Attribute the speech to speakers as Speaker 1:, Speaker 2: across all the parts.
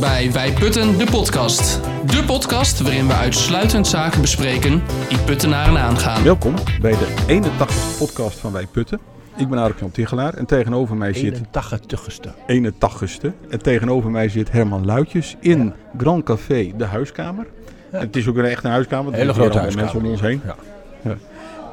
Speaker 1: bij Wij Putten, de podcast. De podcast waarin we uitsluitend zaken bespreken die puttenaren aangaan.
Speaker 2: Welkom bij de 81 podcast van Wij Putten. Ik ben Arik van Tigelaar en tegenover mij zit
Speaker 3: 81ste.
Speaker 2: 81ste. En tegenover mij zit Herman Luitjes in Grand Café de Huiskamer. En het is ook een echte huiskamer.
Speaker 3: Hele
Speaker 2: Er
Speaker 3: grote
Speaker 2: zitten allemaal
Speaker 3: huiskamer.
Speaker 2: mensen om ons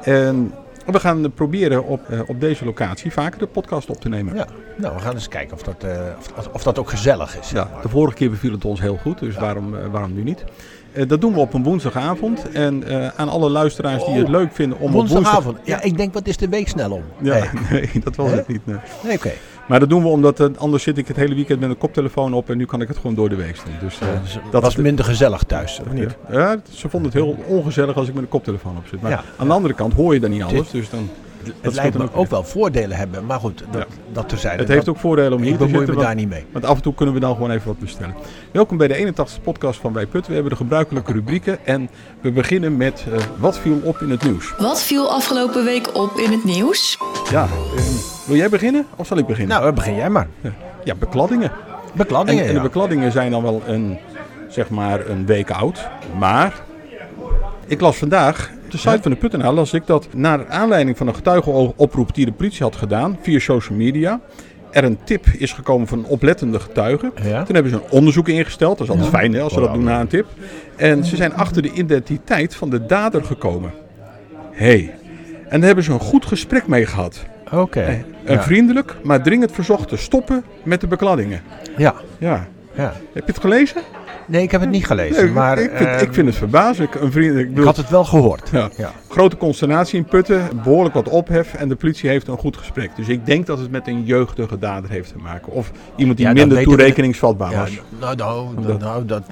Speaker 2: heen.
Speaker 3: Ja.
Speaker 2: En we gaan eh, proberen op, eh, op deze locatie vaker de podcast op te nemen.
Speaker 3: ja. Nou, we gaan eens kijken of dat, eh, of, of dat ook gezellig is.
Speaker 2: Ja, de vorige keer beviel het ons heel goed, dus waarom, eh, waarom nu niet? Eh, dat doen we op een woensdagavond. En eh, aan alle luisteraars die het
Speaker 3: Oh,
Speaker 2: leuk vinden om op
Speaker 3: Woensdagavond. Ja, ik denk, wat is de week snel om? Nee,
Speaker 2: woensdag... Ja, nee, dat was
Speaker 3: Hè?
Speaker 2: het niet. nee.
Speaker 3: nee oké.
Speaker 2: Maar dat doen we omdat eh, anders zit ik het hele weekend met een koptelefoon op en nu kan ik het gewoon door de week doen. Dus, eh,
Speaker 3: Dus het
Speaker 2: dat
Speaker 3: was
Speaker 2: is de-
Speaker 3: minder gezellig thuis, of niet?
Speaker 2: ja. Ja, ze vonden het heel ongezellig als ik met een koptelefoon op zit. Maar
Speaker 3: Ja.
Speaker 2: aan de andere kant hoor je dan niet alles. Dus dan,
Speaker 3: Het
Speaker 2: scheelt
Speaker 3: lijkt
Speaker 2: dan
Speaker 3: me
Speaker 2: ook
Speaker 3: ook wel voordelen hebben, maar goed, dat, dat terzijde.
Speaker 2: het heeft
Speaker 3: Dat-
Speaker 2: ook voordelen om hier
Speaker 3: Ik
Speaker 2: te
Speaker 3: bemoei me
Speaker 2: zitten.
Speaker 3: daar
Speaker 2: Want,
Speaker 3: niet mee.
Speaker 2: want af en toe kunnen we dan gewoon even wat bestellen. Welkom bij de 81ste podcast van Wij Put. We hebben de gebruikelijke rubrieken. En we beginnen met eh, wat viel op in het nieuws.
Speaker 4: Wat viel afgelopen week op in het nieuws?
Speaker 2: Ja, ehm, wil jij beginnen of zal ik beginnen?
Speaker 3: Nou, dan begin jij maar.
Speaker 2: ja, bekladdingen. En,
Speaker 3: Bekladdingen,
Speaker 2: en de
Speaker 3: ja.
Speaker 2: bekladdingen zijn dan wel een, zeg maar een week oud. Maar ik las vandaag, op de site van de Puttenaar las ik dat... naar aanleiding van een getuigenoproep die de politie had gedaan via social media... er een tip is gekomen van een oplettende getuige.
Speaker 3: Ja.
Speaker 2: Toen hebben ze een onderzoek ingesteld. Dat is altijd fijn hè, als ze dat doen na een tip. En ze zijn achter de identiteit van de dader gekomen. Hé. Hey. En daar hebben ze een goed gesprek mee gehad.
Speaker 3: Oké.
Speaker 2: Een
Speaker 3: Ja.
Speaker 2: vriendelijk, maar dringend verzocht te stoppen met de bekladdingen.
Speaker 3: Ja.
Speaker 2: Ja.
Speaker 3: ja.
Speaker 2: Heb je het gelezen?
Speaker 3: Nee, ik heb het niet
Speaker 2: Nee,
Speaker 3: gelezen, maar
Speaker 2: ik, vind,
Speaker 3: ehm,
Speaker 2: ik vind het verbazend. Een vriend, ik
Speaker 3: ik
Speaker 2: bedoel,
Speaker 3: had het wel gehoord.
Speaker 2: ja.
Speaker 3: Ja.
Speaker 2: Grote consternatie in Putten, behoorlijk wat ophef en de politie heeft een goed gesprek. Dus ik denk dat het met een jeugdige dader heeft te maken. Of iemand die
Speaker 3: Ja, dat
Speaker 2: minder
Speaker 3: weten we-
Speaker 2: toerekeningsvatbaar
Speaker 3: Ja,
Speaker 2: was.
Speaker 3: nou, nou,
Speaker 2: Omdat-
Speaker 3: nou, dat...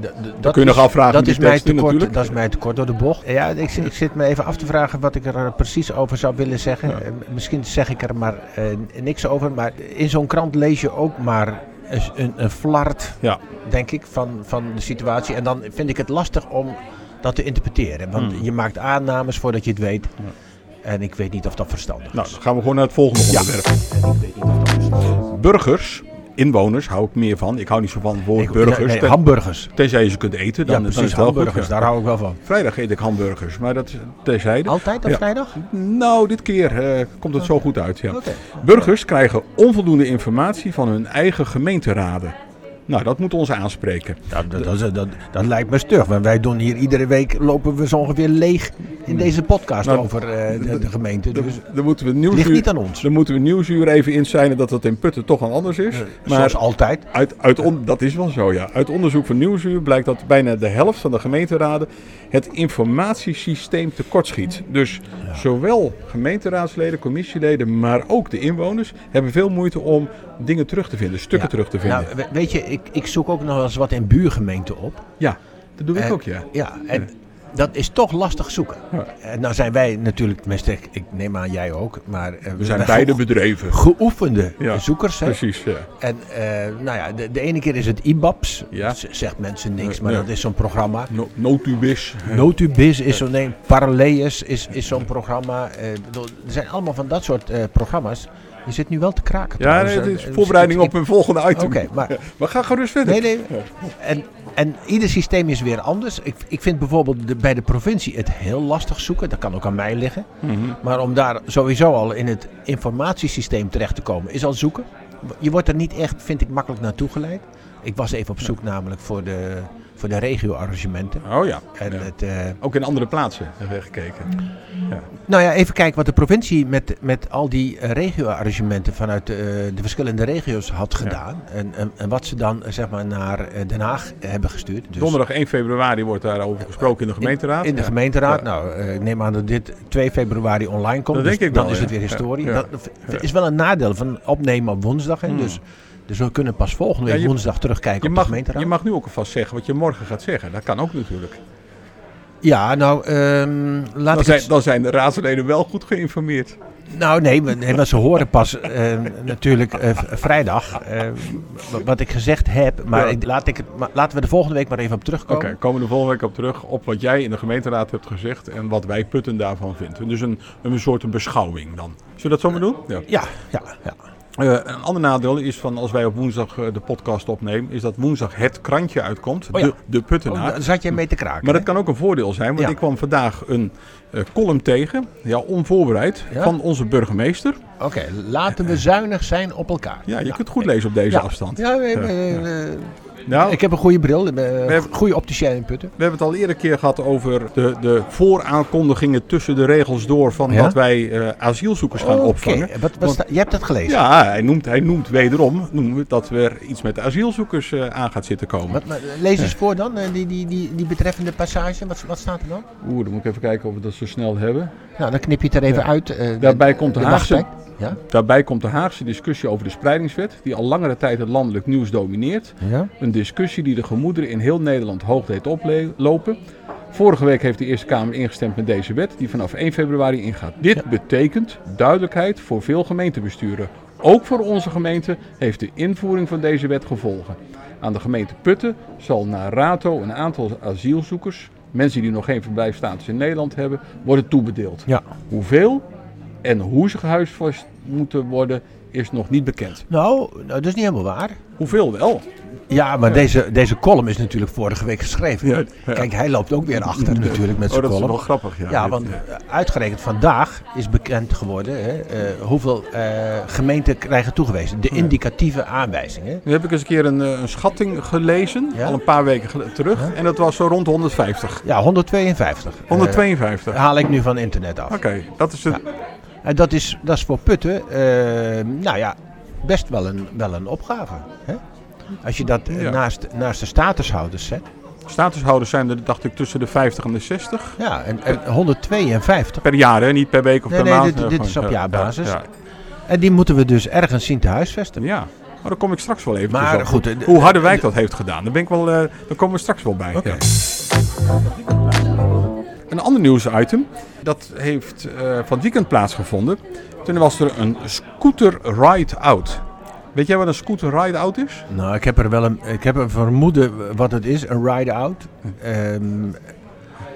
Speaker 3: Dat, dat,
Speaker 2: kun je nog
Speaker 3: is-
Speaker 2: afvragen
Speaker 3: dat
Speaker 2: met
Speaker 3: is
Speaker 2: die
Speaker 3: mij
Speaker 2: teksten
Speaker 3: tekort,
Speaker 2: natuurlijk.
Speaker 3: dat is mij tekort door de bocht. Ja, ik, zit- ik zit me even af te vragen wat ik er eh, precies over zou willen zeggen. Eh, Misschien zeg ik er maar eh, niks over. Maar in zo'n krant lees je ook maar eens een, een flart,
Speaker 2: Ja. nou,
Speaker 3: denk ik, van, van de situatie. En dan vind ik het lastig om dat te interpreteren. Want
Speaker 2: Hmm.
Speaker 3: je maakt aannames voordat je het weet. En ik weet niet of dat verstandig
Speaker 2: Nou,
Speaker 3: is.
Speaker 2: dan gaan we gewoon naar het volgende
Speaker 3: Ja.
Speaker 2: onderwerp.
Speaker 3: En ik weet niet of dat verstandig is.
Speaker 2: Burgers, inwoners hou ik meer van. Ik hou niet zo van het woord
Speaker 3: Ik-
Speaker 2: burgers.
Speaker 3: nee,
Speaker 2: ten-
Speaker 3: hamburgers.
Speaker 2: tenzij je ze kunt eten, dan,
Speaker 3: ja,
Speaker 2: dan is
Speaker 3: precies,
Speaker 2: het wel goed,
Speaker 3: hamburgers.
Speaker 2: ja.
Speaker 3: Daar hou ik wel van.
Speaker 2: Vrijdag eet ik hamburgers, maar dat is terzijde.
Speaker 3: Altijd op
Speaker 2: Ja.
Speaker 3: vrijdag?
Speaker 2: Nou, dit keer eh, komt het zo goed uit. Ja.
Speaker 3: Oké.
Speaker 2: Burgers krijgen onvoldoende informatie van hun eigen gemeenteraden. Nou, dat moet ons aanspreken.
Speaker 3: Dat, dat, dat, dat, dat lijkt me stug. Want wij doen hier iedere week lopen we zo ongeveer leeg in deze podcast
Speaker 2: Nou,
Speaker 3: over eh, de, de gemeente.
Speaker 2: Dan,
Speaker 3: Dus het
Speaker 2: dan moeten we
Speaker 3: ligt
Speaker 2: nieuwsuur,
Speaker 3: niet aan ons.
Speaker 2: dan moeten we nieuwsuur even inzijnen dat dat in Putten toch al anders is.
Speaker 3: Zoals altijd.
Speaker 2: Uit, uit on- dat is wel zo, ja. Uit onderzoek van Nieuwsuur blijkt dat bijna de helft van de gemeenteraden het informatiesysteem tekortschiet. Dus zowel gemeenteraadsleden, commissieleden, maar ook de inwoners hebben veel moeite om dingen terug te vinden, stukken
Speaker 3: Ja.
Speaker 2: terug te vinden.
Speaker 3: Nou, we- weet je, ik, ik zoek ook nog wel eens wat in buurgemeenten op.
Speaker 2: ja, dat doe ik
Speaker 3: En-
Speaker 2: ook, ja.
Speaker 3: Ja, en dat is toch lastig zoeken.
Speaker 2: Ja.
Speaker 3: En nou zijn wij natuurlijk, tenminste, ik- ik neem aan jij ook, maar eh,
Speaker 2: We zijn
Speaker 3: ge-
Speaker 2: beide bedreven.
Speaker 3: geoefende
Speaker 2: Ja,
Speaker 3: zoekers. Hè?
Speaker 2: Precies, ja.
Speaker 3: En eh, nou ja, de, de ene keer is het IBABS.
Speaker 2: Ja.
Speaker 3: Dat z- zegt mensen niks,
Speaker 2: Nee,
Speaker 3: maar
Speaker 2: nee.
Speaker 3: dat is zo'n programma.
Speaker 2: No- notubis.
Speaker 3: Notubiz
Speaker 2: eh,
Speaker 3: is zo'n ding. Parleus is, is zo'n programma. Eh, ik bedoel, er zijn allemaal van dat soort eh, programma's. Je zit nu wel te kraken.
Speaker 2: Ja,
Speaker 3: trouwens.
Speaker 2: nee, het
Speaker 3: Eh,
Speaker 2: is
Speaker 3: eh,
Speaker 2: voorbereiding
Speaker 3: ik-
Speaker 2: op een volgende item.
Speaker 3: Oké, maar-
Speaker 2: We gaan gerust verder.
Speaker 3: Nee, nee. En, en ieder systeem is weer anders. Ik, ik vind bijvoorbeeld de- bij de provincie het heel lastig zoeken. Dat kan ook aan mij liggen.
Speaker 2: Mhm.
Speaker 3: Maar om daar sowieso al in het informatiesysteem terecht te komen, is al zoeken. Je wordt er niet echt, vind ik, makkelijk naartoe geleid. Ik was even op zoek namelijk voor de, voor de regio-arrangementen.
Speaker 2: Oh ja.
Speaker 3: En
Speaker 2: Ja.
Speaker 3: het... eh,
Speaker 2: Ook in andere plaatsen hebben we gekeken.
Speaker 3: Nou ja, even kijken wat de provincie met, met al die eh, regio-arrangementen vanuit eh, de verschillende regio's had gedaan. En, en, en wat ze dan eh, zeg maar naar eh, Den Haag hebben gestuurd. Dus
Speaker 2: Donderdag 1 februari wordt daarover gesproken in de gemeenteraad.
Speaker 3: In de
Speaker 2: Ja.
Speaker 3: gemeenteraad.
Speaker 2: Ja.
Speaker 3: Nou, eh, ik neem aan dat dit 2 februari online komt.
Speaker 2: Dat
Speaker 3: dus
Speaker 2: denk ik
Speaker 3: dan
Speaker 2: wel,
Speaker 3: is
Speaker 2: ja.
Speaker 3: het weer historie.
Speaker 2: Ja, ja.
Speaker 3: Dat v- is wel een nadeel van opnemen op woensdag. Hè. Dus, dus we kunnen pas volgende
Speaker 2: Ja,
Speaker 3: week
Speaker 2: je-
Speaker 3: woensdag terugkijken
Speaker 2: Je
Speaker 3: op de
Speaker 2: mag,
Speaker 3: gemeenteraad.
Speaker 2: je mag nu ook alvast zeggen wat je morgen gaat zeggen. Dat kan ook natuurlijk.
Speaker 3: Ja, nou, ehm, laat
Speaker 2: Dan
Speaker 3: ik
Speaker 2: zijn,
Speaker 3: het-
Speaker 2: dan zijn de raadsleden wel goed geïnformeerd.
Speaker 3: Nou, nee, maar- nee, want ze horen pas eh, natuurlijk eh, v- vrijdag eh, w- wat ik gezegd heb. Maar
Speaker 2: Ja.
Speaker 3: ik, laat ik het, maar laten we er volgende week maar even op
Speaker 2: Oké,
Speaker 3: terugkomen.
Speaker 2: komen we de volgende week op terug op wat jij in de gemeenteraad hebt gezegd en wat wij putten daarvan vinden. Dus een, een soort beschouwing dan. Zullen we dat zomaar doen? Ja.
Speaker 3: Ja, ja, ja.
Speaker 2: Eh, een ander nadeel is van als wij op woensdag eh, de podcast opnemen, is dat woensdag het krantje uitkomt,
Speaker 3: Oh ja.
Speaker 2: de, de
Speaker 3: Oh,
Speaker 2: Puttenaar.
Speaker 3: daar zat jij mee te kraken.
Speaker 2: Maar
Speaker 3: hè?
Speaker 2: dat kan ook een voordeel zijn, want
Speaker 3: Ja.
Speaker 2: ik kwam vandaag een eh, column tegen, ja, onvoorbereid,
Speaker 3: Ja?
Speaker 2: van onze burgemeester.
Speaker 3: Oké, laten we zuinig zijn op elkaar.
Speaker 2: Ja, je kunt het goed lezen op deze
Speaker 3: Ja.
Speaker 2: afstand.
Speaker 3: Ja, nee, maar,
Speaker 2: Ja.
Speaker 3: eh, eh,
Speaker 2: Nou,
Speaker 3: ik heb een goede bril. eh,
Speaker 2: hebben-
Speaker 3: goede opticien in Putten.
Speaker 2: we hebben het al eerder een keer gehad over de, de vooraankondigingen tussen de regels door van
Speaker 3: Ja?
Speaker 2: dat wij eh, asielzoekers gaan
Speaker 3: Oké, eh,
Speaker 2: opvangen.
Speaker 3: Wat, wat
Speaker 2: Want-
Speaker 3: sta- jij hebt dat gelezen.
Speaker 2: Ja, hij noemt, hij noemt wederom noemt dat er iets met de asielzoekers eh, aan gaat zitten komen.
Speaker 3: Wat, maar, lees eens voor dan, eh, die, die, die, die betreffende passage. Wat, wat staat er dan?
Speaker 2: Oeh, dan moet ik even kijken of we dat zo snel hebben.
Speaker 3: Nou, dan knip je het er even uit. eh,
Speaker 2: Daarbij komt de Haagse-
Speaker 3: wachttijd. Ja?
Speaker 2: Daarbij komt de Haagse discussie over de spreidingswet, die al langere tijd het landelijk nieuws domineert.
Speaker 3: Ja?
Speaker 2: Een discussie die de gemoederen in heel Nederland hoog deed oplopen. Vorige week heeft de Eerste Kamer ingestemd met deze wet, die vanaf 1 februari ingaat. Dit betekent duidelijkheid voor veel gemeentebesturen. Ook voor onze gemeente heeft de invoering van deze wet gevolgen. Aan de gemeente Putten zal na rato een aantal asielzoekers, mensen die nog geen verblijfstatus in Nederland hebben, worden toebedeeld.
Speaker 3: ja.
Speaker 2: Hoeveel en hoe ze gehuisvest moeten worden, is nog niet bekend.
Speaker 3: Nou, nou, dat is niet helemaal waar.
Speaker 2: Hoeveel wel?
Speaker 3: Ja, maar Deze, deze column is natuurlijk vorige week geschreven.
Speaker 2: Ja, ja. Oh,
Speaker 3: Kijk, hij loopt ook weer achter natuurlijk met zijn column.
Speaker 2: grappig.
Speaker 3: ja, want eh, uitgerekend vandaag is bekend geworden hè, eh, hoeveel eh, gemeenten krijgen toegewezen. De indicatieve aanwijzingen.
Speaker 2: Nu heb ik eens een keer een, eh, een schatting gelezen,
Speaker 3: Ja?
Speaker 2: al een paar weken gel- terug. En dat was zo rond de 150.
Speaker 3: Ja, 152. Eh,
Speaker 2: 152.
Speaker 3: haal ik nu van internet af.
Speaker 2: Oké, dat is het.
Speaker 3: En dat is, dat is voor Putten, eh, nou ja, best wel een, wel een opgave. Hè? Als je dat eh,
Speaker 2: Ja.
Speaker 3: naast, naast de statushouders zet.
Speaker 2: Statushouders zijn er, dacht ik, tussen de 50 en de 60.
Speaker 3: Ja, en, en 152.
Speaker 2: Per jaar, hè? niet per week of
Speaker 3: Nee,
Speaker 2: per
Speaker 3: nee,
Speaker 2: maand.
Speaker 3: dit-
Speaker 2: eh,
Speaker 3: dit
Speaker 2: gewoon,
Speaker 3: is op
Speaker 2: ja,
Speaker 3: jaarbasis.
Speaker 2: Ja,
Speaker 3: En die moeten we dus ergens zien te huisvesten.
Speaker 2: ja. Ja. maar daar kom ik straks wel even
Speaker 3: Maar goed, eh, d-
Speaker 2: Hoe Harderwijk dat heeft gedaan, daar, ben ik wel, eh, daar komen we straks wel bij.
Speaker 3: Oké.
Speaker 2: ja. Een ander nieuwsitem, dat heeft eh, van het weekend plaatsgevonden. Toen was er een scooter ride-out. Weet jij wat een scooter ride-out is?
Speaker 3: Nou, ik heb er wel een, ik heb een vermoeden wat het is, een ride-out. Ehm,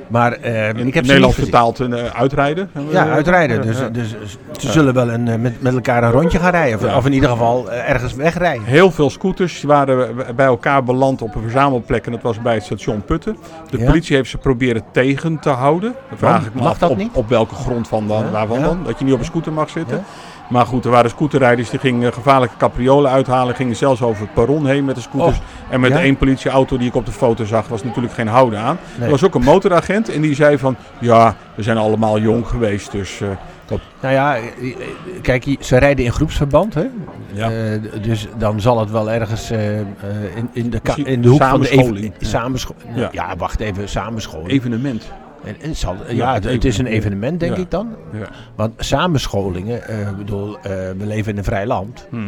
Speaker 3: maar ehm,
Speaker 2: In
Speaker 3: ik heb
Speaker 2: Nederlands
Speaker 3: ze niet gezien.
Speaker 2: vertaald een eh, uitrijden.
Speaker 3: Ja, uitrijden. Dus,
Speaker 2: Ja.
Speaker 3: dus ze zullen wel een, eh, met, met elkaar een rondje gaan rijden. Of,
Speaker 2: Ja.
Speaker 3: of in ieder geval eh, ergens wegrijden.
Speaker 2: Heel veel scooters waren bij elkaar beland op een verzamelplek. En dat was bij het station Putten. De
Speaker 3: Ja.
Speaker 2: politie heeft ze proberen tegen te houden. Dan vraag
Speaker 3: Want,
Speaker 2: ik me
Speaker 3: mag
Speaker 2: af
Speaker 3: dat
Speaker 2: op,
Speaker 3: niet?
Speaker 2: op welke grond van dan,
Speaker 3: Ja,
Speaker 2: waarvan
Speaker 3: ja.
Speaker 2: dan. Dat je niet op een scooter mag zitten.
Speaker 3: Ja.
Speaker 2: Maar goed, er waren scooterrijders die gingen gevaarlijke capriolen uithalen. Gingen zelfs over het perron heen met de scooters. en met
Speaker 3: Oh, ja.
Speaker 2: één politieauto die ik op de foto zag, was natuurlijk geen houden aan.
Speaker 3: Nee.
Speaker 2: Er was ook een motoragent en die zei van... Ja, we zijn allemaal jong geweest, dus... eh, dat,
Speaker 3: Nou ja, eh, eh, kijk, je- ze rijden in groepsverband. Hè?
Speaker 2: ja.
Speaker 3: Eh, d- dus dan zal het wel ergens eh, eh, in, in, de ka-
Speaker 2: Misschien
Speaker 3: in de hoek van de
Speaker 2: samenscholing.
Speaker 3: even- samenscho-
Speaker 2: Ja.
Speaker 3: ja. wacht even, samenscholing.
Speaker 2: evenement.
Speaker 3: En, en zal, ja,
Speaker 2: Ja,
Speaker 3: het, het is een
Speaker 2: evenement.
Speaker 3: evenement, denk
Speaker 2: Ja.
Speaker 3: ik dan.
Speaker 2: Ja.
Speaker 3: Want samenscholingen, eh, ik bedoel, eh, we leven in een vrij land.
Speaker 2: Mhm.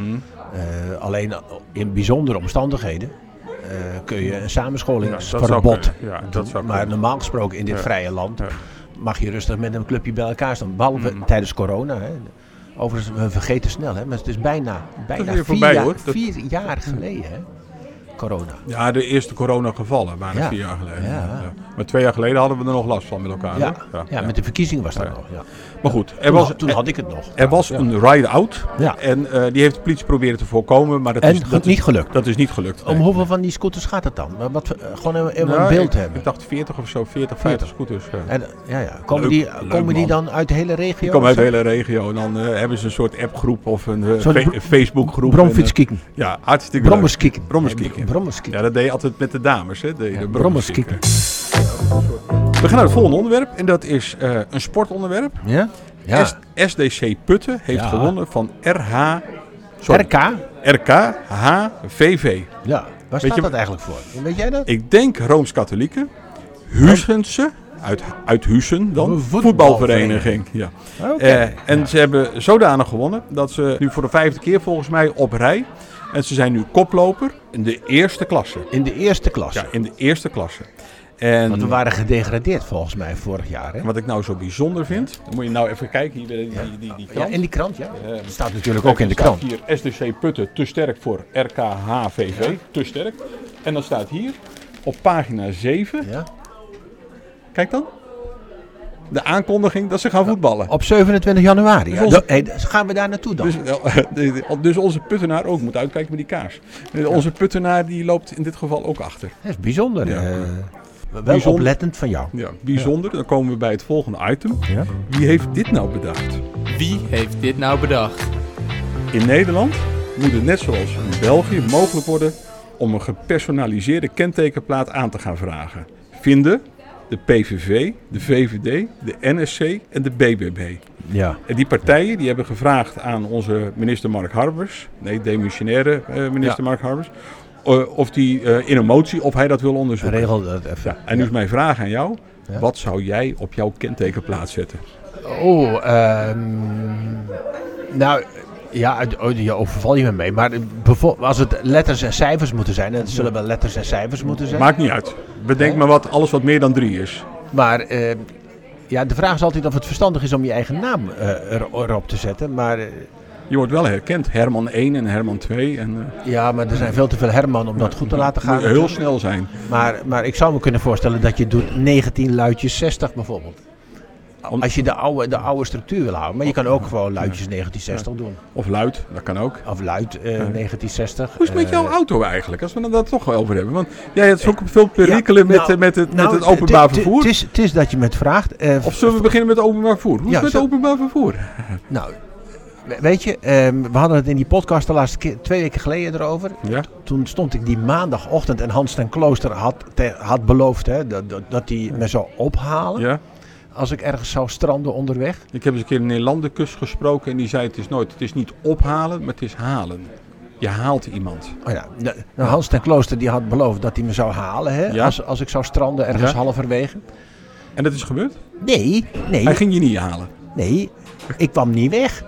Speaker 3: Eh, alleen in bijzondere omstandigheden eh, kun je een
Speaker 2: zou
Speaker 3: samenscholingsverbod.
Speaker 2: kunnen. Ja, dat zou
Speaker 3: maar
Speaker 2: kunnen.
Speaker 3: normaal gesproken in dit
Speaker 2: Ja.
Speaker 3: vrije land
Speaker 2: Ja.
Speaker 3: mag je rustig met een clubje bij elkaar staan. Behalve
Speaker 2: Mm.
Speaker 3: tijdens corona. Hè. Overigens, we vergeten snel, hè, maar het is bijna, bijna
Speaker 2: weer
Speaker 3: vier,
Speaker 2: voorbij,
Speaker 3: jaar,
Speaker 2: hoor. Dat-
Speaker 3: vier jaar geleden. Hè, corona.
Speaker 2: Ja, de eerste coronagevallen waren
Speaker 3: Ja.
Speaker 2: vier jaar geleden.
Speaker 3: Ja.
Speaker 2: Ja. Maar twee jaar geleden hadden we er nog last van met elkaar.
Speaker 3: Ja,
Speaker 2: hoor.
Speaker 3: ja, met de verkiezingen was dat
Speaker 2: Ah, Ja.
Speaker 3: nog. Ja.
Speaker 2: Maar goed, er
Speaker 3: Toen,
Speaker 2: was,
Speaker 3: had, toen had ik het nog.
Speaker 2: er was
Speaker 3: Ja.
Speaker 2: een ride-out.
Speaker 3: Ja.
Speaker 2: En eh, die heeft de politie proberen te voorkomen. Maar dat,
Speaker 3: En
Speaker 2: is,
Speaker 3: goed,
Speaker 2: dat, is,
Speaker 3: niet gelukt.
Speaker 2: dat is niet gelukt.
Speaker 3: Om
Speaker 2: nee.
Speaker 3: hoeveel van die scooters gaat het dan? Wat- Wat, we- eh, gewoon even
Speaker 2: Nou,
Speaker 3: een beeld
Speaker 2: ik,
Speaker 3: hebben.
Speaker 2: Ik dacht 40 of zo, 40, 50 scooters. ja.
Speaker 3: En, ja, ja. Komen,
Speaker 2: Leuk,
Speaker 3: die,
Speaker 2: leuk,
Speaker 3: komen die
Speaker 2: man.
Speaker 3: dan uit de hele regio?
Speaker 2: Die komen uit de
Speaker 3: Zo-
Speaker 2: hele regio. En dan eh, hebben ze een soort appgroep of een eh,
Speaker 3: Zo'n
Speaker 2: fe-
Speaker 3: bro-
Speaker 2: Facebookgroep. En,
Speaker 3: Bromfietskieken.
Speaker 2: eh, ja, hartstikke leuk.
Speaker 3: Brommerskieken.
Speaker 2: Brommerskieken.
Speaker 3: Nee,
Speaker 2: Ja,
Speaker 3: Brommerskieken.
Speaker 2: dat deed je altijd met de dames. Hè? De, de
Speaker 3: Brommerskieken.
Speaker 2: We gaan naar het volgende onderwerp. En dat is eh, een sportonderwerp.
Speaker 3: Ja?
Speaker 2: S- SDC Putten heeft
Speaker 3: Ja.
Speaker 2: gewonnen van RH, sorry,
Speaker 3: RK?
Speaker 2: RKHVV.
Speaker 3: Ja. Waar
Speaker 2: je
Speaker 3: staat
Speaker 2: wat-
Speaker 3: dat eigenlijk voor? Weet jij dat?
Speaker 2: Ik denk Rooms-Katholieken. Huisense, uit, uit Huizen dan,
Speaker 3: Een
Speaker 2: voetbalvereniging.
Speaker 3: voetbalvereniging. Ah,
Speaker 2: Ja.
Speaker 3: Oké.
Speaker 2: Eh, en ze hebben zodanig gewonnen dat ze nu voor de vijfde keer volgens mij op rij. En ze zijn nu koploper in de eerste klasse.
Speaker 3: In de eerste klas.
Speaker 2: Ja, in de eerste klasse. En
Speaker 3: Want we waren gedegradeerd volgens mij vorig jaar. Hè?
Speaker 2: wat ik nou zo bijzonder vind, dan moet je nou even kijken, hier die, die, die, die
Speaker 3: Ja,
Speaker 2: krant.
Speaker 3: in die krant, ja.
Speaker 2: Eh,
Speaker 3: staat natuurlijk ook in de krant.
Speaker 2: Hier SDC Putten te sterk voor RKHVV, te sterk. En dan staat hier op pagina 7,
Speaker 3: Ja.
Speaker 2: kijk dan. de aankondiging dat ze gaan voetballen.
Speaker 3: Op 27 januari. Ja.
Speaker 2: Dus onze-
Speaker 3: Dan- hey, dan gaan we daar naartoe dan?
Speaker 2: Dus, dus onze puttenaar ook moet uitkijken met die kaars. Eh, Onze puttenaar die loopt in dit geval ook achter.
Speaker 3: dat is bijzonder.
Speaker 2: Ja.
Speaker 3: eh, wel
Speaker 2: Bijzonder.
Speaker 3: oplettend van jou.
Speaker 2: Ja, bijzonder. Dan komen we bij het volgende item.
Speaker 3: Ja.
Speaker 2: Wie heeft dit nou bedacht?
Speaker 1: Wie heeft dit nou bedacht?
Speaker 2: In Nederland moet het net zoals in België mogelijk worden om een gepersonaliseerde kentekenplaat aan te gaan vragen. Vinden de PVV, de VVD, de NSC en de BBB.
Speaker 3: Ja.
Speaker 2: En die partijen die hebben gevraagd aan onze minister Mark Harbers, nee, demissionaire eh, minister Mark Harbers, eh, of die eh, in een motie of hij dat wil
Speaker 3: Een
Speaker 2: onderzoeken.
Speaker 3: regel dat even.
Speaker 2: Ja, en nu is mijn vraag aan jou.
Speaker 3: Ja.
Speaker 2: Wat zou jij op jouw kentekenplaat zetten?
Speaker 3: Oh, ehm, nou, ja, het- oh, je overval je me mee. Maar bevo- als het letters en cijfers moeten zijn, en het zullen wel letters en cijfers moeten zijn. Maar,
Speaker 2: Maakt niet uit. Bedenk
Speaker 3: Nee.
Speaker 2: maar wat, alles wat meer dan drie is.
Speaker 3: ehm, ja, de vraag is altijd of het verstandig is om je eigen naam eh, er- erop te zetten. Maar eh,
Speaker 2: Je wordt wel herkend. Herman 1 en Herman 2. En, eh,
Speaker 3: ja, maar er zijn veel te veel Herman om dat goed te laten gaan.
Speaker 2: moet je heel snel zijn.
Speaker 3: Maar, maar ik zou me kunnen voorstellen dat je doet 19 luidjes 60 bijvoorbeeld.
Speaker 2: Om- Oh.
Speaker 3: Als je de oude, de oude structuur wil houden. Maar je kan ook gewoon luidjes 1960 doen.
Speaker 2: Of luid, dat kan ook.
Speaker 3: Of luid eh, 1960.
Speaker 2: Hoe is het met
Speaker 3: eh,
Speaker 2: jouw auto eigenlijk? Als we het daar toch over hebben. Want jij hebt ook veel perikelen
Speaker 3: Ja,
Speaker 2: met,
Speaker 3: nou,
Speaker 2: eh, met, het, met
Speaker 3: nou,
Speaker 2: het openbaar
Speaker 3: t- t-
Speaker 2: vervoer.
Speaker 3: Het is, het is dat je me het vraagt. eh,
Speaker 2: Of zullen we beginnen met het openbaar vervoer? Hoe is
Speaker 3: Ja,
Speaker 2: het met
Speaker 3: zo-
Speaker 2: het openbaar vervoer?
Speaker 3: Nou, we- weet je, ehm, we hadden het in die podcast de laatste keer, twee weken geleden erover.
Speaker 2: Ja.
Speaker 3: Toen stond ik die maandagochtend en Hans ten Klooster had, te- had beloofd hè, dat, dat, dat hij me zou ophalen
Speaker 2: ja.
Speaker 3: als ik ergens zou stranden onderweg.
Speaker 2: Ik heb eens een keer een Nederlanderkus gesproken en die zei het is nooit. Het is niet ophalen, maar het is halen. Je haalt iemand.
Speaker 3: Oh ja, de- nou, Hans ten Klooster die had beloofd dat hij me zou halen hè,
Speaker 2: Ja.
Speaker 3: als, als ik zou stranden ergens
Speaker 2: Ja.
Speaker 3: halverwege.
Speaker 2: En dat is gebeurd.
Speaker 3: Nee, nee,
Speaker 2: Hij ging je niet halen.
Speaker 3: nee, ik kwam niet weg.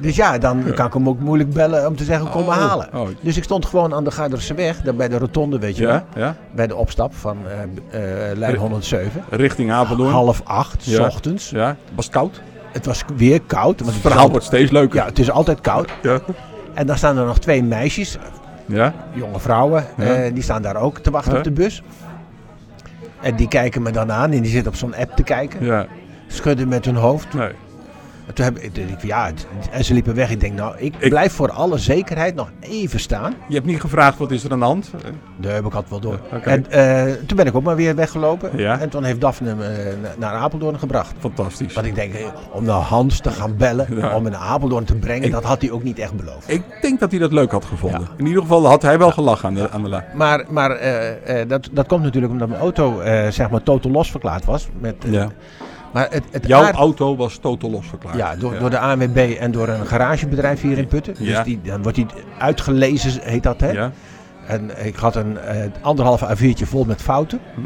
Speaker 3: Dus ja, dan kan ik hem ook moeilijk bellen om te zeggen kom me
Speaker 2: Oh,
Speaker 3: halen.
Speaker 2: oh.
Speaker 3: Dus ik stond gewoon aan de Garderse weg, daar bij de rotonde, weet je wel.
Speaker 2: Ja, ja.
Speaker 3: bij de opstap van eh, b- eh, lijn
Speaker 2: Eh,
Speaker 3: 107.
Speaker 2: Richting Apeldoorn.
Speaker 3: Half acht, s
Speaker 2: Ja.
Speaker 3: ochtends.
Speaker 2: Ja, was koud.
Speaker 3: Het was weer koud. Want
Speaker 2: Het
Speaker 3: is
Speaker 2: verhaal wordt
Speaker 3: altijd-
Speaker 2: steeds leuker.
Speaker 3: Ja, het is altijd koud.
Speaker 2: Ja.
Speaker 3: En dan staan er nog twee meisjes,
Speaker 2: Ja.
Speaker 3: jonge vrouwen,
Speaker 2: Ja.
Speaker 3: eh, die staan daar ook te wachten
Speaker 2: Ja.
Speaker 3: op de bus. En die kijken me dan aan en die zitten op zo'n app te kijken.
Speaker 2: ja.
Speaker 3: Schudden met hun hoofd.
Speaker 2: Nee.
Speaker 3: En toen heb ik, toen dacht ik van, ja, het- en ze liepen weg. Ik denk, nou, ik,
Speaker 2: Ik-
Speaker 3: blijf voor alle zekerheid nog even staan.
Speaker 2: Je hebt niet gevraagd wat is er aan de hand. Eh,
Speaker 3: Daar heb ik altijd wel door.
Speaker 2: Ja, oké.
Speaker 3: En eh, toen ben ik ook maar weer weggelopen.
Speaker 2: Ja.
Speaker 3: En toen heeft Daphne me eh, naar Apeldoorn gebracht.
Speaker 2: Fantastisch.
Speaker 3: Want ik denk, hé, om naar Hans te gaan bellen,
Speaker 2: Ja.
Speaker 3: om hem naar Apeldoorn te brengen,
Speaker 2: Ik-
Speaker 3: dat had hij ook niet echt beloofd.
Speaker 2: Ik denk dat hij dat leuk had gevonden.
Speaker 3: Ja.
Speaker 2: In ieder geval had hij wel gelachen aan de, aan de la.
Speaker 3: Maar, maar eh, eh, dat, dat komt natuurlijk omdat mijn auto eh, zeg maar totaal los verklaard was. Met, eh,
Speaker 2: Ja.
Speaker 3: Maar het, het
Speaker 2: Jouw
Speaker 3: aard-
Speaker 2: auto was totaal losverklaard.
Speaker 3: Ja, door, door de ANWB en door een garagebedrijf hier in Putten.
Speaker 2: Ja.
Speaker 3: Dus die, dan wordt die uitgelezen, heet dat hè.
Speaker 2: Ja.
Speaker 3: En ik had een eh, anderhalf A4'tje vol met fouten.
Speaker 2: Hm.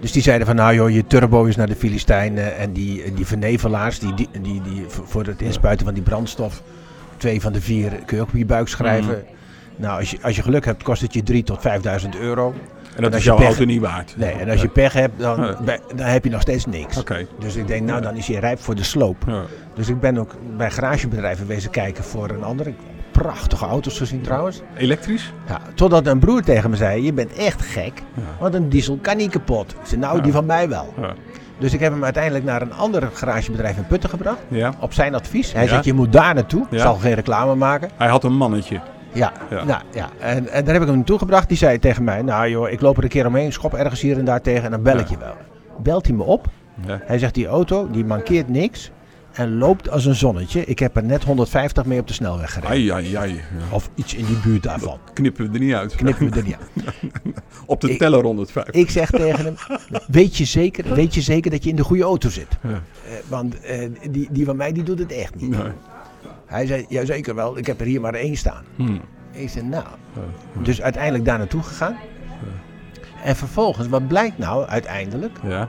Speaker 3: Dus die zeiden van, nou joh, je turbo is naar de Filistijnen. En die, die vernevelaars, die, die, die, die voor voor het inspuiten van die brandstof, twee van de vier kun je ook op je buik schrijven. Nou, als je, als je geluk hebt, kost het je 3.000 tot 5.000 euro.
Speaker 2: En dat
Speaker 3: als
Speaker 2: is
Speaker 3: je
Speaker 2: jouw
Speaker 3: pech-
Speaker 2: auto niet waard.
Speaker 3: Nee, en als je pech hebt, dan,
Speaker 2: Ja.
Speaker 3: bij- dan heb je nog steeds niks.
Speaker 2: Oké.
Speaker 3: Dus ik denk, nou dan is je rijp voor de sloop.
Speaker 2: Ja.
Speaker 3: Dus ik ben ook bij garagebedrijven wezen kijken voor een ander. Ik heb Prachtige auto's gezien trouwens.
Speaker 2: Elektrisch?
Speaker 3: Ja, totdat een broer tegen me zei, je bent echt gek, want een diesel kan niet kapot. Ik zei, nou
Speaker 2: Ja.
Speaker 3: die van mij wel.
Speaker 2: Ja.
Speaker 3: Dus ik heb hem uiteindelijk naar een ander garagebedrijf in Putten gebracht.
Speaker 2: Ja.
Speaker 3: Op zijn advies. Hij
Speaker 2: Ja.
Speaker 3: zegt, je moet daar naartoe.
Speaker 2: Ja.
Speaker 3: Ik zal geen reclame maken.
Speaker 2: Hij had een mannetje.
Speaker 3: Ja,
Speaker 2: Ja.
Speaker 3: Nou, ja. En, en daar heb ik hem naartoe gebracht. Die zei tegen mij, nou joh, ik loop er een keer omheen. Schop ergens hier en daar tegen en dan bel
Speaker 2: Ja.
Speaker 3: ik je wel. Belt hij me op.
Speaker 2: Ja.
Speaker 3: Hij zegt, die auto, die mankeert niks. En loopt als een zonnetje. Ik heb er net 150 mee op de snelweg gereden.
Speaker 2: Ai, ai, ai. Ja.
Speaker 3: Of iets in die buurt daarvan.
Speaker 2: Knippen we er niet uit.
Speaker 3: Knip me er niet aan.
Speaker 2: Op de
Speaker 3: Ik-
Speaker 2: teller 105.
Speaker 3: Ik zeg tegen hem, weet je zeker, weet je zeker dat je in de goede auto zit? Eh, want eh, die, die van mij die doet het echt niet.
Speaker 2: Nee.
Speaker 3: Hij zei, ja zeker wel, ik heb er hier maar één staan.
Speaker 2: Hm.
Speaker 3: Ik zei, nou. Dus uiteindelijk daar naartoe gegaan. En vervolgens, wat blijkt nou uiteindelijk?
Speaker 2: Ja.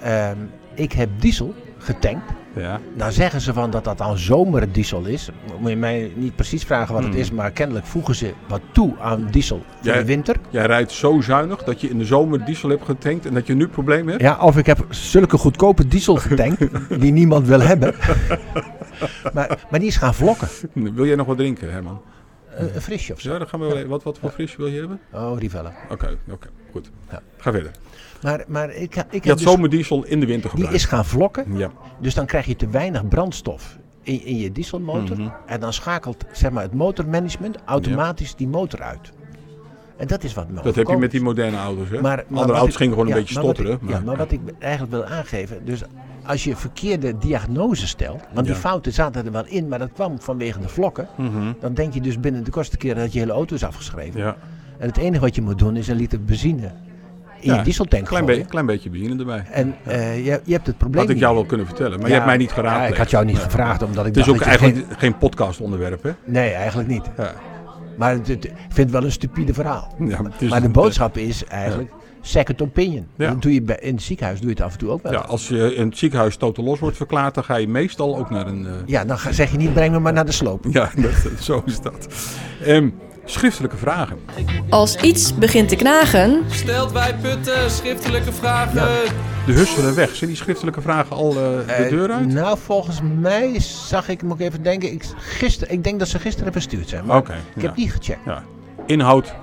Speaker 3: Ehm, ik heb diesel getankt.
Speaker 2: Ja.
Speaker 3: Dan zeggen ze van dat dat dan zomerdiesel is. Moet je mij niet precies vragen wat het
Speaker 2: Hmm.
Speaker 3: is, maar kennelijk voegen ze wat toe aan diesel voor
Speaker 2: Jij-
Speaker 3: de winter.
Speaker 2: Jij rijdt zo zuinig dat je in de zomer diesel hebt getankt en dat je nu problemen hebt.
Speaker 3: Ja, of ik heb zulke goedkope diesel getankt die niemand wil hebben. Maar, maar die is gaan vlokken.
Speaker 2: Wil jij nog wat drinken, Herman?
Speaker 3: Een, een frisje of zo.
Speaker 2: Ja, dan gaan we wel even- wat, wat voor frisje wil je hebben?
Speaker 3: Oh, Rivella.
Speaker 2: Oké, oké, goed.
Speaker 3: Ja.
Speaker 2: Ga verder.
Speaker 3: Maar, maar ik, ha- ik
Speaker 2: Je
Speaker 3: heb
Speaker 2: had
Speaker 3: dus,
Speaker 2: zomerdiesel in de winter
Speaker 3: die
Speaker 2: gebruikt.
Speaker 3: is gaan vlokken.
Speaker 2: Ja.
Speaker 3: Dus dan krijg je te weinig brandstof in, in je dieselmotor.
Speaker 2: Mhm.
Speaker 3: En dan schakelt zeg maar, het motormanagement automatisch die motor uit. En dat is wat me
Speaker 2: Dat heb je
Speaker 3: overkomt.
Speaker 2: met die moderne auto's, hè?
Speaker 3: Maar, maar wat
Speaker 2: Andere auto's
Speaker 3: ik-
Speaker 2: gingen gewoon
Speaker 3: ja,
Speaker 2: een beetje
Speaker 3: maar wat ik-
Speaker 2: stotteren.
Speaker 3: ja, maar wat ik eigenlijk wil aangeven. Dus als je verkeerde diagnose stelt. Want die
Speaker 2: Ja. Mhm.
Speaker 3: fouten zaten er wel in, maar dat kwam vanwege de vlokken. Dan denk je dus binnen de kortste keer dat je hele auto is afgeschreven.
Speaker 2: ja.
Speaker 3: En het enige wat je moet doen is een liter benzine in
Speaker 2: Ja,
Speaker 3: je dieseltank
Speaker 2: Klein,
Speaker 3: gooien.
Speaker 2: be- klein beetje benzine erbij.
Speaker 3: En eh, je, je hebt het probleem
Speaker 2: Had ik
Speaker 3: niet
Speaker 2: jou
Speaker 3: meer.
Speaker 2: wel kunnen vertellen, maar je
Speaker 3: Ja,
Speaker 2: hebt mij niet
Speaker 3: ja,
Speaker 2: geraadpleegd.
Speaker 3: ik had jou niet gevraagd, omdat ik
Speaker 2: Het is
Speaker 3: dacht
Speaker 2: ook
Speaker 3: dat je
Speaker 2: eigenlijk geen, podcastonderwerp, hè?
Speaker 3: geen- Nee, eigenlijk niet.
Speaker 2: Ja.
Speaker 3: Maar het, het- ik vind het wel een stupide verhaal.
Speaker 2: Ja, het is-
Speaker 3: maar de boodschap is eigenlijk second opinion.
Speaker 2: Ja.
Speaker 3: Dat doe je bij, in het ziekenhuis doe je het af en toe ook wel.
Speaker 2: Ja, als je in het ziekenhuis totaal los wordt verklaard, dan ga je meestal ook naar een... eh,
Speaker 3: Ja, dan ga- zeg je niet breng me maar naar de sloop.
Speaker 2: Ja, dat, zo is dat. Ehm, schriftelijke vragen.
Speaker 4: Als iets begint te knagen,
Speaker 1: Stelt bij Putten schriftelijke vragen.
Speaker 2: De husselen weg. Zijn die schriftelijke vragen al eh, de
Speaker 3: Eh,
Speaker 2: deur uit?
Speaker 3: Nou, volgens mij zag ik, moet ik even denken, ik, gister, ik denk dat ze gisteren verstuurd zijn. Maar
Speaker 2: Oké, ja.
Speaker 3: ik heb niet gecheckt.
Speaker 2: Ja. Inhoud.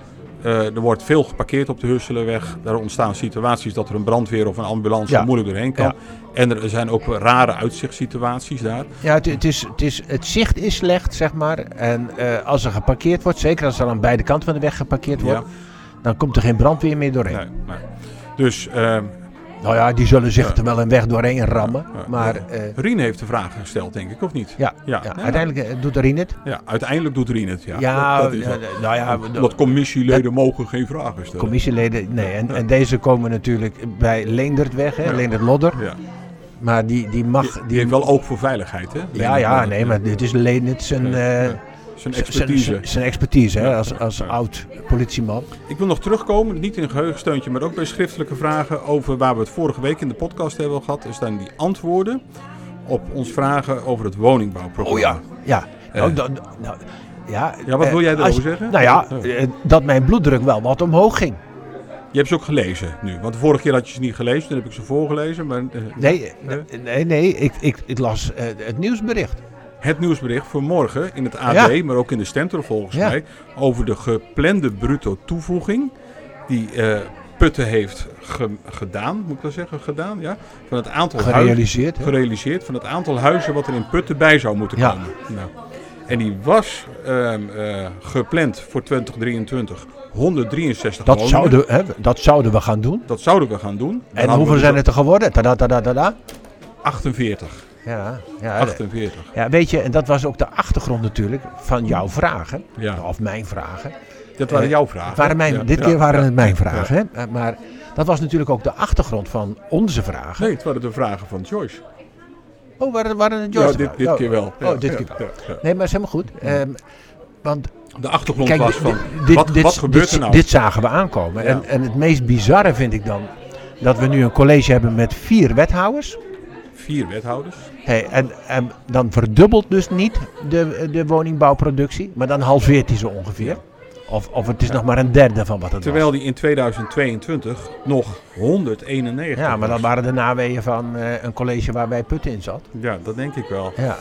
Speaker 2: eh, er wordt veel geparkeerd op de Husselenweg. Daar ontstaan situaties dat er een brandweer of een ambulance
Speaker 3: Ja.
Speaker 2: moeilijk doorheen kan.
Speaker 3: Ja.
Speaker 2: En er zijn ook rare uitzichtssituaties daar.
Speaker 3: Ja, het, het, is, het, is, het zicht is slecht, zeg maar. En eh, als er geparkeerd wordt, zeker als er aan beide kanten van de weg geparkeerd wordt, dan komt er geen brandweer meer doorheen.
Speaker 2: Nee, nee. Dus ehm
Speaker 3: Nou ja, die zullen zich er wel een weg doorheen rammen.
Speaker 2: Ja, ja,
Speaker 3: maar
Speaker 2: ja.
Speaker 3: eh,
Speaker 2: Rien heeft de vraag gesteld, denk ik, of niet?
Speaker 3: ja,
Speaker 2: Ja,
Speaker 3: ja,
Speaker 2: nee,
Speaker 3: uiteindelijk eh, doet Rien het.
Speaker 2: Ja, uiteindelijk doet Rien het. Ja,
Speaker 3: Ja,
Speaker 2: dat, dat is
Speaker 3: eh,
Speaker 2: wel-
Speaker 3: nou ja, de
Speaker 2: Omdat commissieleden mogen geen vragen stellen.
Speaker 3: commissieleden, nee. En, en deze komen natuurlijk bij Leendert weg, hè,
Speaker 2: Ja.
Speaker 3: Leendert Lodder.
Speaker 2: ja.
Speaker 3: Maar die, die mag...
Speaker 2: Die heeft wel oog voor veiligheid, hè?
Speaker 3: ja, ja, nee, maar dit is Leendert zijn...
Speaker 2: Ja,
Speaker 3: eh,
Speaker 2: ja. Zijn
Speaker 3: zijn-
Speaker 2: expertise.
Speaker 3: Zijn, zijn expertise, hè,
Speaker 2: Ja,
Speaker 3: als, als
Speaker 2: ja.
Speaker 3: oud politieman.
Speaker 2: Ik wil nog terugkomen, niet in een geheugensteuntje, maar ook bij schriftelijke vragen over waar we het vorige week in de podcast hebben gehad. Er staan die antwoorden op ons vragen over het woningbouwprogramma.
Speaker 3: Oh Ja.
Speaker 2: Eh.
Speaker 3: Nou, dan- nou, ja,
Speaker 2: Oh Ja, wat
Speaker 3: eh,
Speaker 2: wil jij
Speaker 3: als-
Speaker 2: erover zeggen?
Speaker 3: Nou ja, eh, dat mijn bloeddruk wel wat omhoog ging.
Speaker 2: Je hebt ze ook gelezen nu, want de vorige keer had je ze niet gelezen, toen heb ik ze voorgelezen. Maar, eh,
Speaker 3: Nee, eh, nee, nee ik, ik, ik las eh, het nieuwsbericht.
Speaker 2: Het nieuwsbericht voor morgen in het AD,
Speaker 3: Ja.
Speaker 2: maar ook in de Stentor volgens
Speaker 3: Ja.
Speaker 2: mij, over de geplande bruto toevoeging die eh Putten heeft ge- gedaan, moet ik wel zeggen, gedaan, ja, van het aantal huizen.
Speaker 3: Gerealiseerd. hè?
Speaker 2: gerealiseerd van het aantal huizen wat er in Putten bij zou moeten
Speaker 3: Ja.
Speaker 2: komen. Nou. En die was ehm, eh, gepland voor 2023 163
Speaker 3: Dat
Speaker 2: woningen.
Speaker 3: zouden, hè, dat zouden we gaan doen.
Speaker 2: Dat zouden we gaan doen. Dan
Speaker 3: En
Speaker 2: hadden
Speaker 3: hoeveel
Speaker 2: we
Speaker 3: zijn
Speaker 2: dus
Speaker 3: het er geworden? Tada, tada, tada.
Speaker 2: 48.
Speaker 3: Ja, ja, eh,
Speaker 2: 48.
Speaker 3: ja, weet je, en dat was ook de achtergrond natuurlijk van jouw vragen.
Speaker 2: Ja.
Speaker 3: Of mijn vragen.
Speaker 2: Dat waren
Speaker 3: Eh,
Speaker 2: jouw vragen.
Speaker 3: Waren mijn,
Speaker 2: Ja,
Speaker 3: dit
Speaker 2: ja,
Speaker 3: keer waren
Speaker 2: ja.
Speaker 3: het mijn vragen. Hè? Maar- Maar dat was natuurlijk ook de achtergrond van onze vragen.
Speaker 2: Nee, het waren de vragen van Joyce.
Speaker 3: Oh, waren, waren het George
Speaker 2: ja, dit, dit
Speaker 3: Oh,
Speaker 2: keer wel. Ja,
Speaker 3: Oh, dit
Speaker 2: ja,
Speaker 3: keer wel.
Speaker 2: ja, ja.
Speaker 3: Nee, maar is helemaal goed. Ehm, want
Speaker 2: De achtergrond
Speaker 3: kijk,
Speaker 2: was
Speaker 3: di-
Speaker 2: van,
Speaker 3: di- dit,
Speaker 2: wat,
Speaker 3: dit,
Speaker 2: wat gebeurt
Speaker 3: dit,
Speaker 2: er nou?
Speaker 3: Dit zagen we aankomen.
Speaker 2: Ja.
Speaker 3: En, en het meest bizarre vind ik dan dat we nu een college hebben met vier wethouders.
Speaker 2: Vier wethouders.
Speaker 3: Hey, en, en dan verdubbelt dus niet de, de woningbouwproductie, maar dan halveert die zo ongeveer. Of, of het is nog maar een derde van wat het
Speaker 2: Terwijl die in 2022 nog 191
Speaker 3: was. Ja, maar
Speaker 2: was.
Speaker 3: dat waren de naweeën van eh, een college waar wij Putten in zat.
Speaker 2: Ja, dat denk ik wel.
Speaker 3: Ja,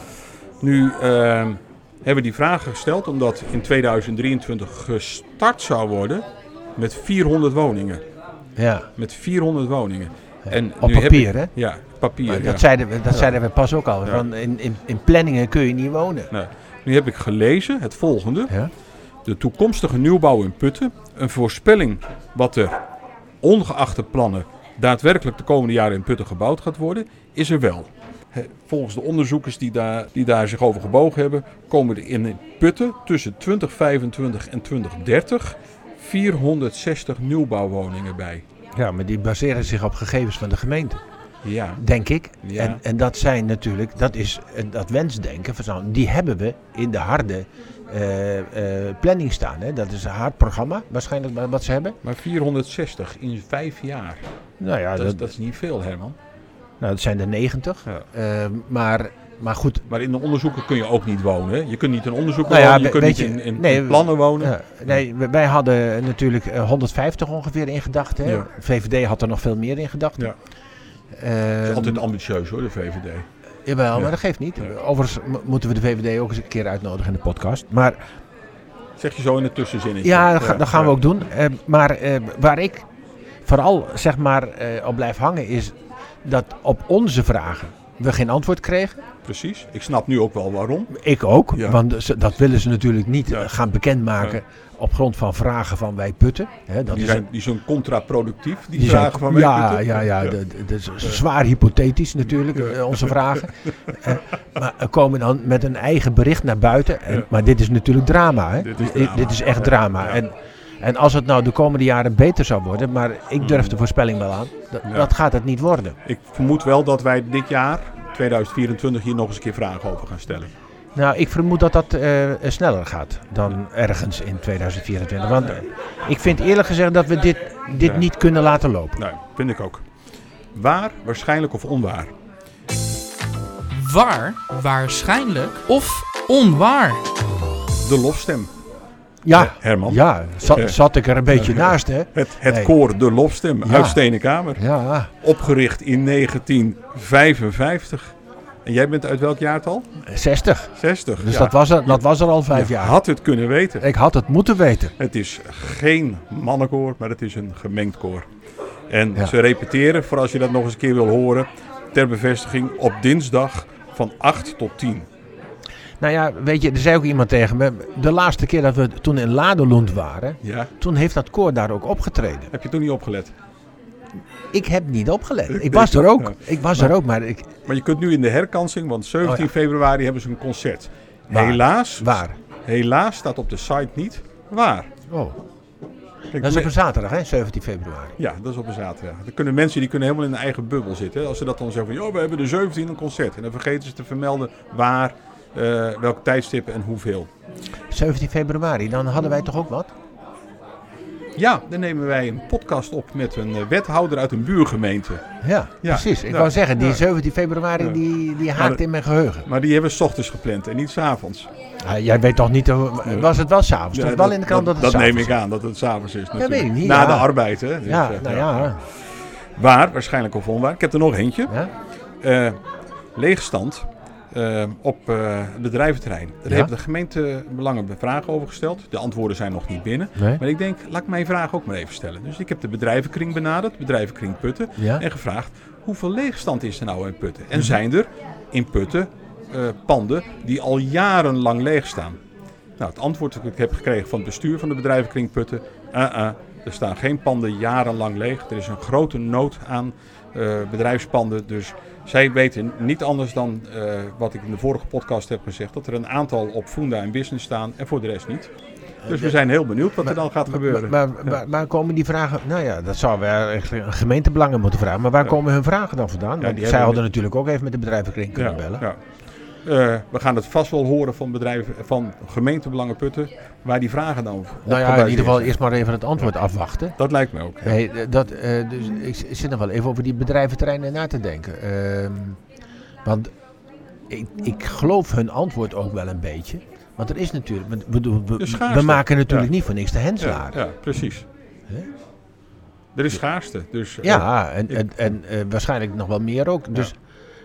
Speaker 2: Nu ehm, hebben we die vragen gesteld omdat in 2023 gestart zou worden met 400 woningen.
Speaker 3: ja.
Speaker 2: Met 400 woningen. En
Speaker 3: Op
Speaker 2: nu heb
Speaker 3: papier,
Speaker 2: ik-
Speaker 3: hè?
Speaker 2: Ja, papier.
Speaker 3: Maar
Speaker 2: ja.
Speaker 3: dat zeiden we, dat zeiden we pas ook al.
Speaker 2: Ja.
Speaker 3: Van in, in, in planningen kun je niet wonen.
Speaker 2: Nee. Nou, Nu heb ik gelezen het volgende.
Speaker 3: Ja.
Speaker 2: De toekomstige nieuwbouw in Putten. Een voorspelling wat er ongeacht de plannen daadwerkelijk de komende jaren in Putten gebouwd gaat worden, is er wel. Hè, Volgens de onderzoekers die daar, die daar zich over gebogen hebben, komen er in Putten tussen 2025 en 2030 460 nieuwbouwwoningen bij.
Speaker 3: Ja, maar die baseren zich op gegevens van de gemeente,
Speaker 2: Ja,
Speaker 3: denk ik.
Speaker 2: Ja.
Speaker 3: En, en dat zijn natuurlijk, dat is eh, dat wensdenken van zo'n, die hebben we in de harde eh, eh, planning staan. Hè. Dat is een hard programma waarschijnlijk wa- wat ze hebben.
Speaker 2: maar 460 in vijf jaar.
Speaker 3: Nou ja,
Speaker 2: Dat,
Speaker 3: dat,
Speaker 2: is- dat is niet veel, Herman.
Speaker 3: nou, dat zijn er 90.
Speaker 2: Ja.
Speaker 3: Eh, maar, maar goed,
Speaker 2: Maar in de onderzoeken kun je ook niet wonen. hè? Je kunt niet in onderzoeken
Speaker 3: Nou ja,
Speaker 2: wonen, je
Speaker 3: we-
Speaker 2: kunt
Speaker 3: weet
Speaker 2: niet in,
Speaker 3: je,
Speaker 2: in,
Speaker 3: nee,
Speaker 2: in
Speaker 3: we-
Speaker 2: plannen wonen.
Speaker 3: ja, nee, we- wij hadden natuurlijk eh, 150 ongeveer in gedachten. hè.
Speaker 2: Ja.
Speaker 3: VVD had er nog veel meer in gedachten.
Speaker 2: Ja.
Speaker 3: Eh,
Speaker 2: Altijd ambitieus hoor, de VVD.
Speaker 3: Jawel,
Speaker 2: Ja.
Speaker 3: maar dat geeft niet.
Speaker 2: Ja.
Speaker 3: Overigens mo- moeten we de VVD ook eens een keer uitnodigen in de podcast. Maar
Speaker 2: Zeg je zo in het tussenzinnetje.
Speaker 3: Ja, dat, ga- dat gaan we ook doen. Eh, maar eh, waar ik vooral zeg maar, eh, op blijf hangen is dat op onze vragen we geen antwoord kregen.
Speaker 2: Precies. Ik snap nu ook wel waarom.
Speaker 3: Ik ook,
Speaker 2: Ja.
Speaker 3: want ze- dat willen ze natuurlijk niet
Speaker 2: Ja.
Speaker 3: eh, gaan bekendmaken op grond van vragen van wij putten. Hè, dat
Speaker 2: Die
Speaker 3: is een-
Speaker 2: zijn, die zijn contraproductief, die,
Speaker 3: Die
Speaker 2: vragen
Speaker 3: zijn-
Speaker 2: van mij.
Speaker 3: Ja, ja, ja, dat- dat is zwaar hypothetisch natuurlijk, eh, onze vragen. Eh, maar eh, komen dan met een eigen bericht naar buiten. En,
Speaker 2: Ja.
Speaker 3: Maar dit is natuurlijk drama, hè?
Speaker 2: Dit is drama.
Speaker 3: dit is echt drama.
Speaker 2: Ja.
Speaker 3: En, en als het nou de komende jaren beter zou worden, maar ik durf de voorspelling wel aan, dat,
Speaker 2: Mm. Ja.
Speaker 3: dat gaat het niet worden.
Speaker 2: Ik vermoed wel dat wij dit jaar, 2024, hier nog eens een keer vragen over gaan stellen.
Speaker 3: Nou, ik vermoed dat dat eh, sneller gaat dan ergens in 2024. Want eh, ik vind eerlijk gezegd dat we dit, dit
Speaker 2: Ja.
Speaker 3: niet kunnen laten lopen.
Speaker 2: Nou, vind ik ook. Waar, waarschijnlijk of onwaar?
Speaker 1: Waar, waarschijnlijk of onwaar.
Speaker 2: De lofstem.
Speaker 3: Ja,
Speaker 2: Herman.
Speaker 3: ja zat,
Speaker 2: Ja.
Speaker 3: zat ik er een beetje naast, hè?
Speaker 2: Het, het
Speaker 3: Nee.
Speaker 2: koor De Lofstem
Speaker 3: Ja.
Speaker 2: uit Stenenkamer.
Speaker 3: Ja,
Speaker 2: Opgericht in 1955. En jij bent uit welk jaartal?
Speaker 3: 60.
Speaker 2: 60.
Speaker 3: Dus
Speaker 2: Ja.
Speaker 3: dat, was er, dat was er al
Speaker 2: Je
Speaker 3: vijf jaar.
Speaker 2: had het kunnen weten.
Speaker 3: Ik had het moeten weten.
Speaker 2: Het is geen mannenkoor, maar het is een gemengd koor. En
Speaker 3: Ja.
Speaker 2: ze repeteren, voor als je dat nog eens een keer wil horen, ter bevestiging op dinsdag van 8 tot 10.
Speaker 3: Nou ja, weet je, er zei ook iemand tegen me. De laatste keer dat we toen in Ladelund waren,
Speaker 2: Ja.
Speaker 3: toen heeft dat koor daar ook opgetreden.
Speaker 2: Heb je toen niet opgelet?
Speaker 3: Ik heb niet opgelet. Ik
Speaker 2: denk
Speaker 3: was er
Speaker 2: dat-
Speaker 3: ook.
Speaker 2: ja.
Speaker 3: Ik was er ook, maar ik,
Speaker 2: Maar je kunt nu in de herkansing, want 17
Speaker 3: Oh ja.
Speaker 2: februari hebben ze een concert.
Speaker 3: Waar?
Speaker 2: Helaas,
Speaker 3: waar?
Speaker 2: helaas staat op de site niet waar.
Speaker 3: Oh,
Speaker 2: Kijk,
Speaker 3: dat is op
Speaker 2: me-
Speaker 3: een zaterdag, hè? 17 februari.
Speaker 2: Ja, dat is op een zaterdag. Er kunnen mensen die kunnen helemaal in hun eigen bubbel zitten. Als ze dat dan zeggen van, joh, we hebben de 17 een concert. En dan vergeten ze te vermelden waar, eh, welk tijdstip en hoeveel.
Speaker 3: 17 februari, dan hadden wij toch ook wat?
Speaker 2: Ja, dan nemen wij een podcast op met een eh, wethouder uit een buurgemeente.
Speaker 3: Ja,
Speaker 2: Ja,
Speaker 3: precies. Ik
Speaker 2: ja,
Speaker 3: wou zeggen, die
Speaker 2: ja.
Speaker 3: 17 februari
Speaker 2: Ja.
Speaker 3: die, die haakt
Speaker 2: dat-
Speaker 3: in mijn geheugen.
Speaker 2: Maar die hebben we 's ochtends gepland en niet 's avonds.
Speaker 3: Ah, jij weet toch niet, hoe- was het wel s'avonds?
Speaker 2: Ja,
Speaker 3: avonds?
Speaker 2: dat-
Speaker 3: wel in de krant dat,
Speaker 2: dat,
Speaker 3: het
Speaker 2: neem
Speaker 3: s'avonds
Speaker 2: ik aan, dat het s'avonds is natuurlijk.
Speaker 3: weet ik niet,
Speaker 2: Na
Speaker 3: ja.
Speaker 2: de arbeid, hè. Dus,
Speaker 3: Ja,
Speaker 2: eh,
Speaker 3: nou ja.
Speaker 2: Waar, waarschijnlijk of onwaar. Ik heb er nog eentje.
Speaker 3: ja.
Speaker 2: Eh, leegstand eh, op eh bedrijventerrein. Daar
Speaker 3: Ja.
Speaker 2: hebben de gemeente belangen vragen over gesteld. De antwoorden zijn nog niet binnen.
Speaker 3: Nee?
Speaker 2: Maar ik denk, laat ik mijn vraag ook maar even stellen. Dus ik heb de bedrijvenkring benaderd, bedrijvenkring Putten.
Speaker 3: Ja.
Speaker 2: En gevraagd, hoeveel leegstand is er nou in Putten? En zijn er in Putten eh, panden die al jarenlang leeg staan? Nou, het antwoord dat ik heb gekregen van het bestuur van de bedrijvenkring Putten... ah ah, er staan geen panden jarenlang leeg. Er is een grote nood aan eh, bedrijfspanden. Dus zij weten niet anders dan eh, wat ik in de vorige podcast heb gezegd... dat er een aantal op Funda en Business staan en voor de rest niet. Dus we zijn heel benieuwd wat er dan gaat gebeuren.
Speaker 3: Maar, maar, maar- maar komen die vragen... Nou ja, dat zou wel eigenlijk een gemeentebelangen moeten vragen. Maar waar komen hun vragen dan vandaan?
Speaker 2: die
Speaker 3: Want zij
Speaker 2: hebben-
Speaker 3: hadden natuurlijk ook even met de bedrijvenkring kunnen bellen.
Speaker 2: ja. Eh, we gaan het vast wel horen van bedrijven, van gemeentebelangen putten, waar die vragen dan op
Speaker 3: Nou ja, in
Speaker 2: gebaseerd
Speaker 3: ieder geval
Speaker 2: zijn.
Speaker 3: eerst maar even het antwoord afwachten.
Speaker 2: Dat lijkt me ook.
Speaker 3: Nee, eh, dat, eh, dus ik z- zit nog wel even over die bedrijventerreinen na te denken. Ehm, want ik, ik geloof hun antwoord ook wel een beetje. Want er is natuurlijk... want We, doen- we,
Speaker 2: De
Speaker 3: we,
Speaker 2: schaarste.
Speaker 3: maken natuurlijk
Speaker 2: Ja.
Speaker 3: niet voor niks de
Speaker 2: Ja,
Speaker 3: henselaar. Ja,
Speaker 2: ja, precies.
Speaker 3: Hè?
Speaker 2: Er is schaarste, dus eh,
Speaker 3: en,
Speaker 2: ik-
Speaker 3: en, en eh, waarschijnlijk nog wel meer ook. Dus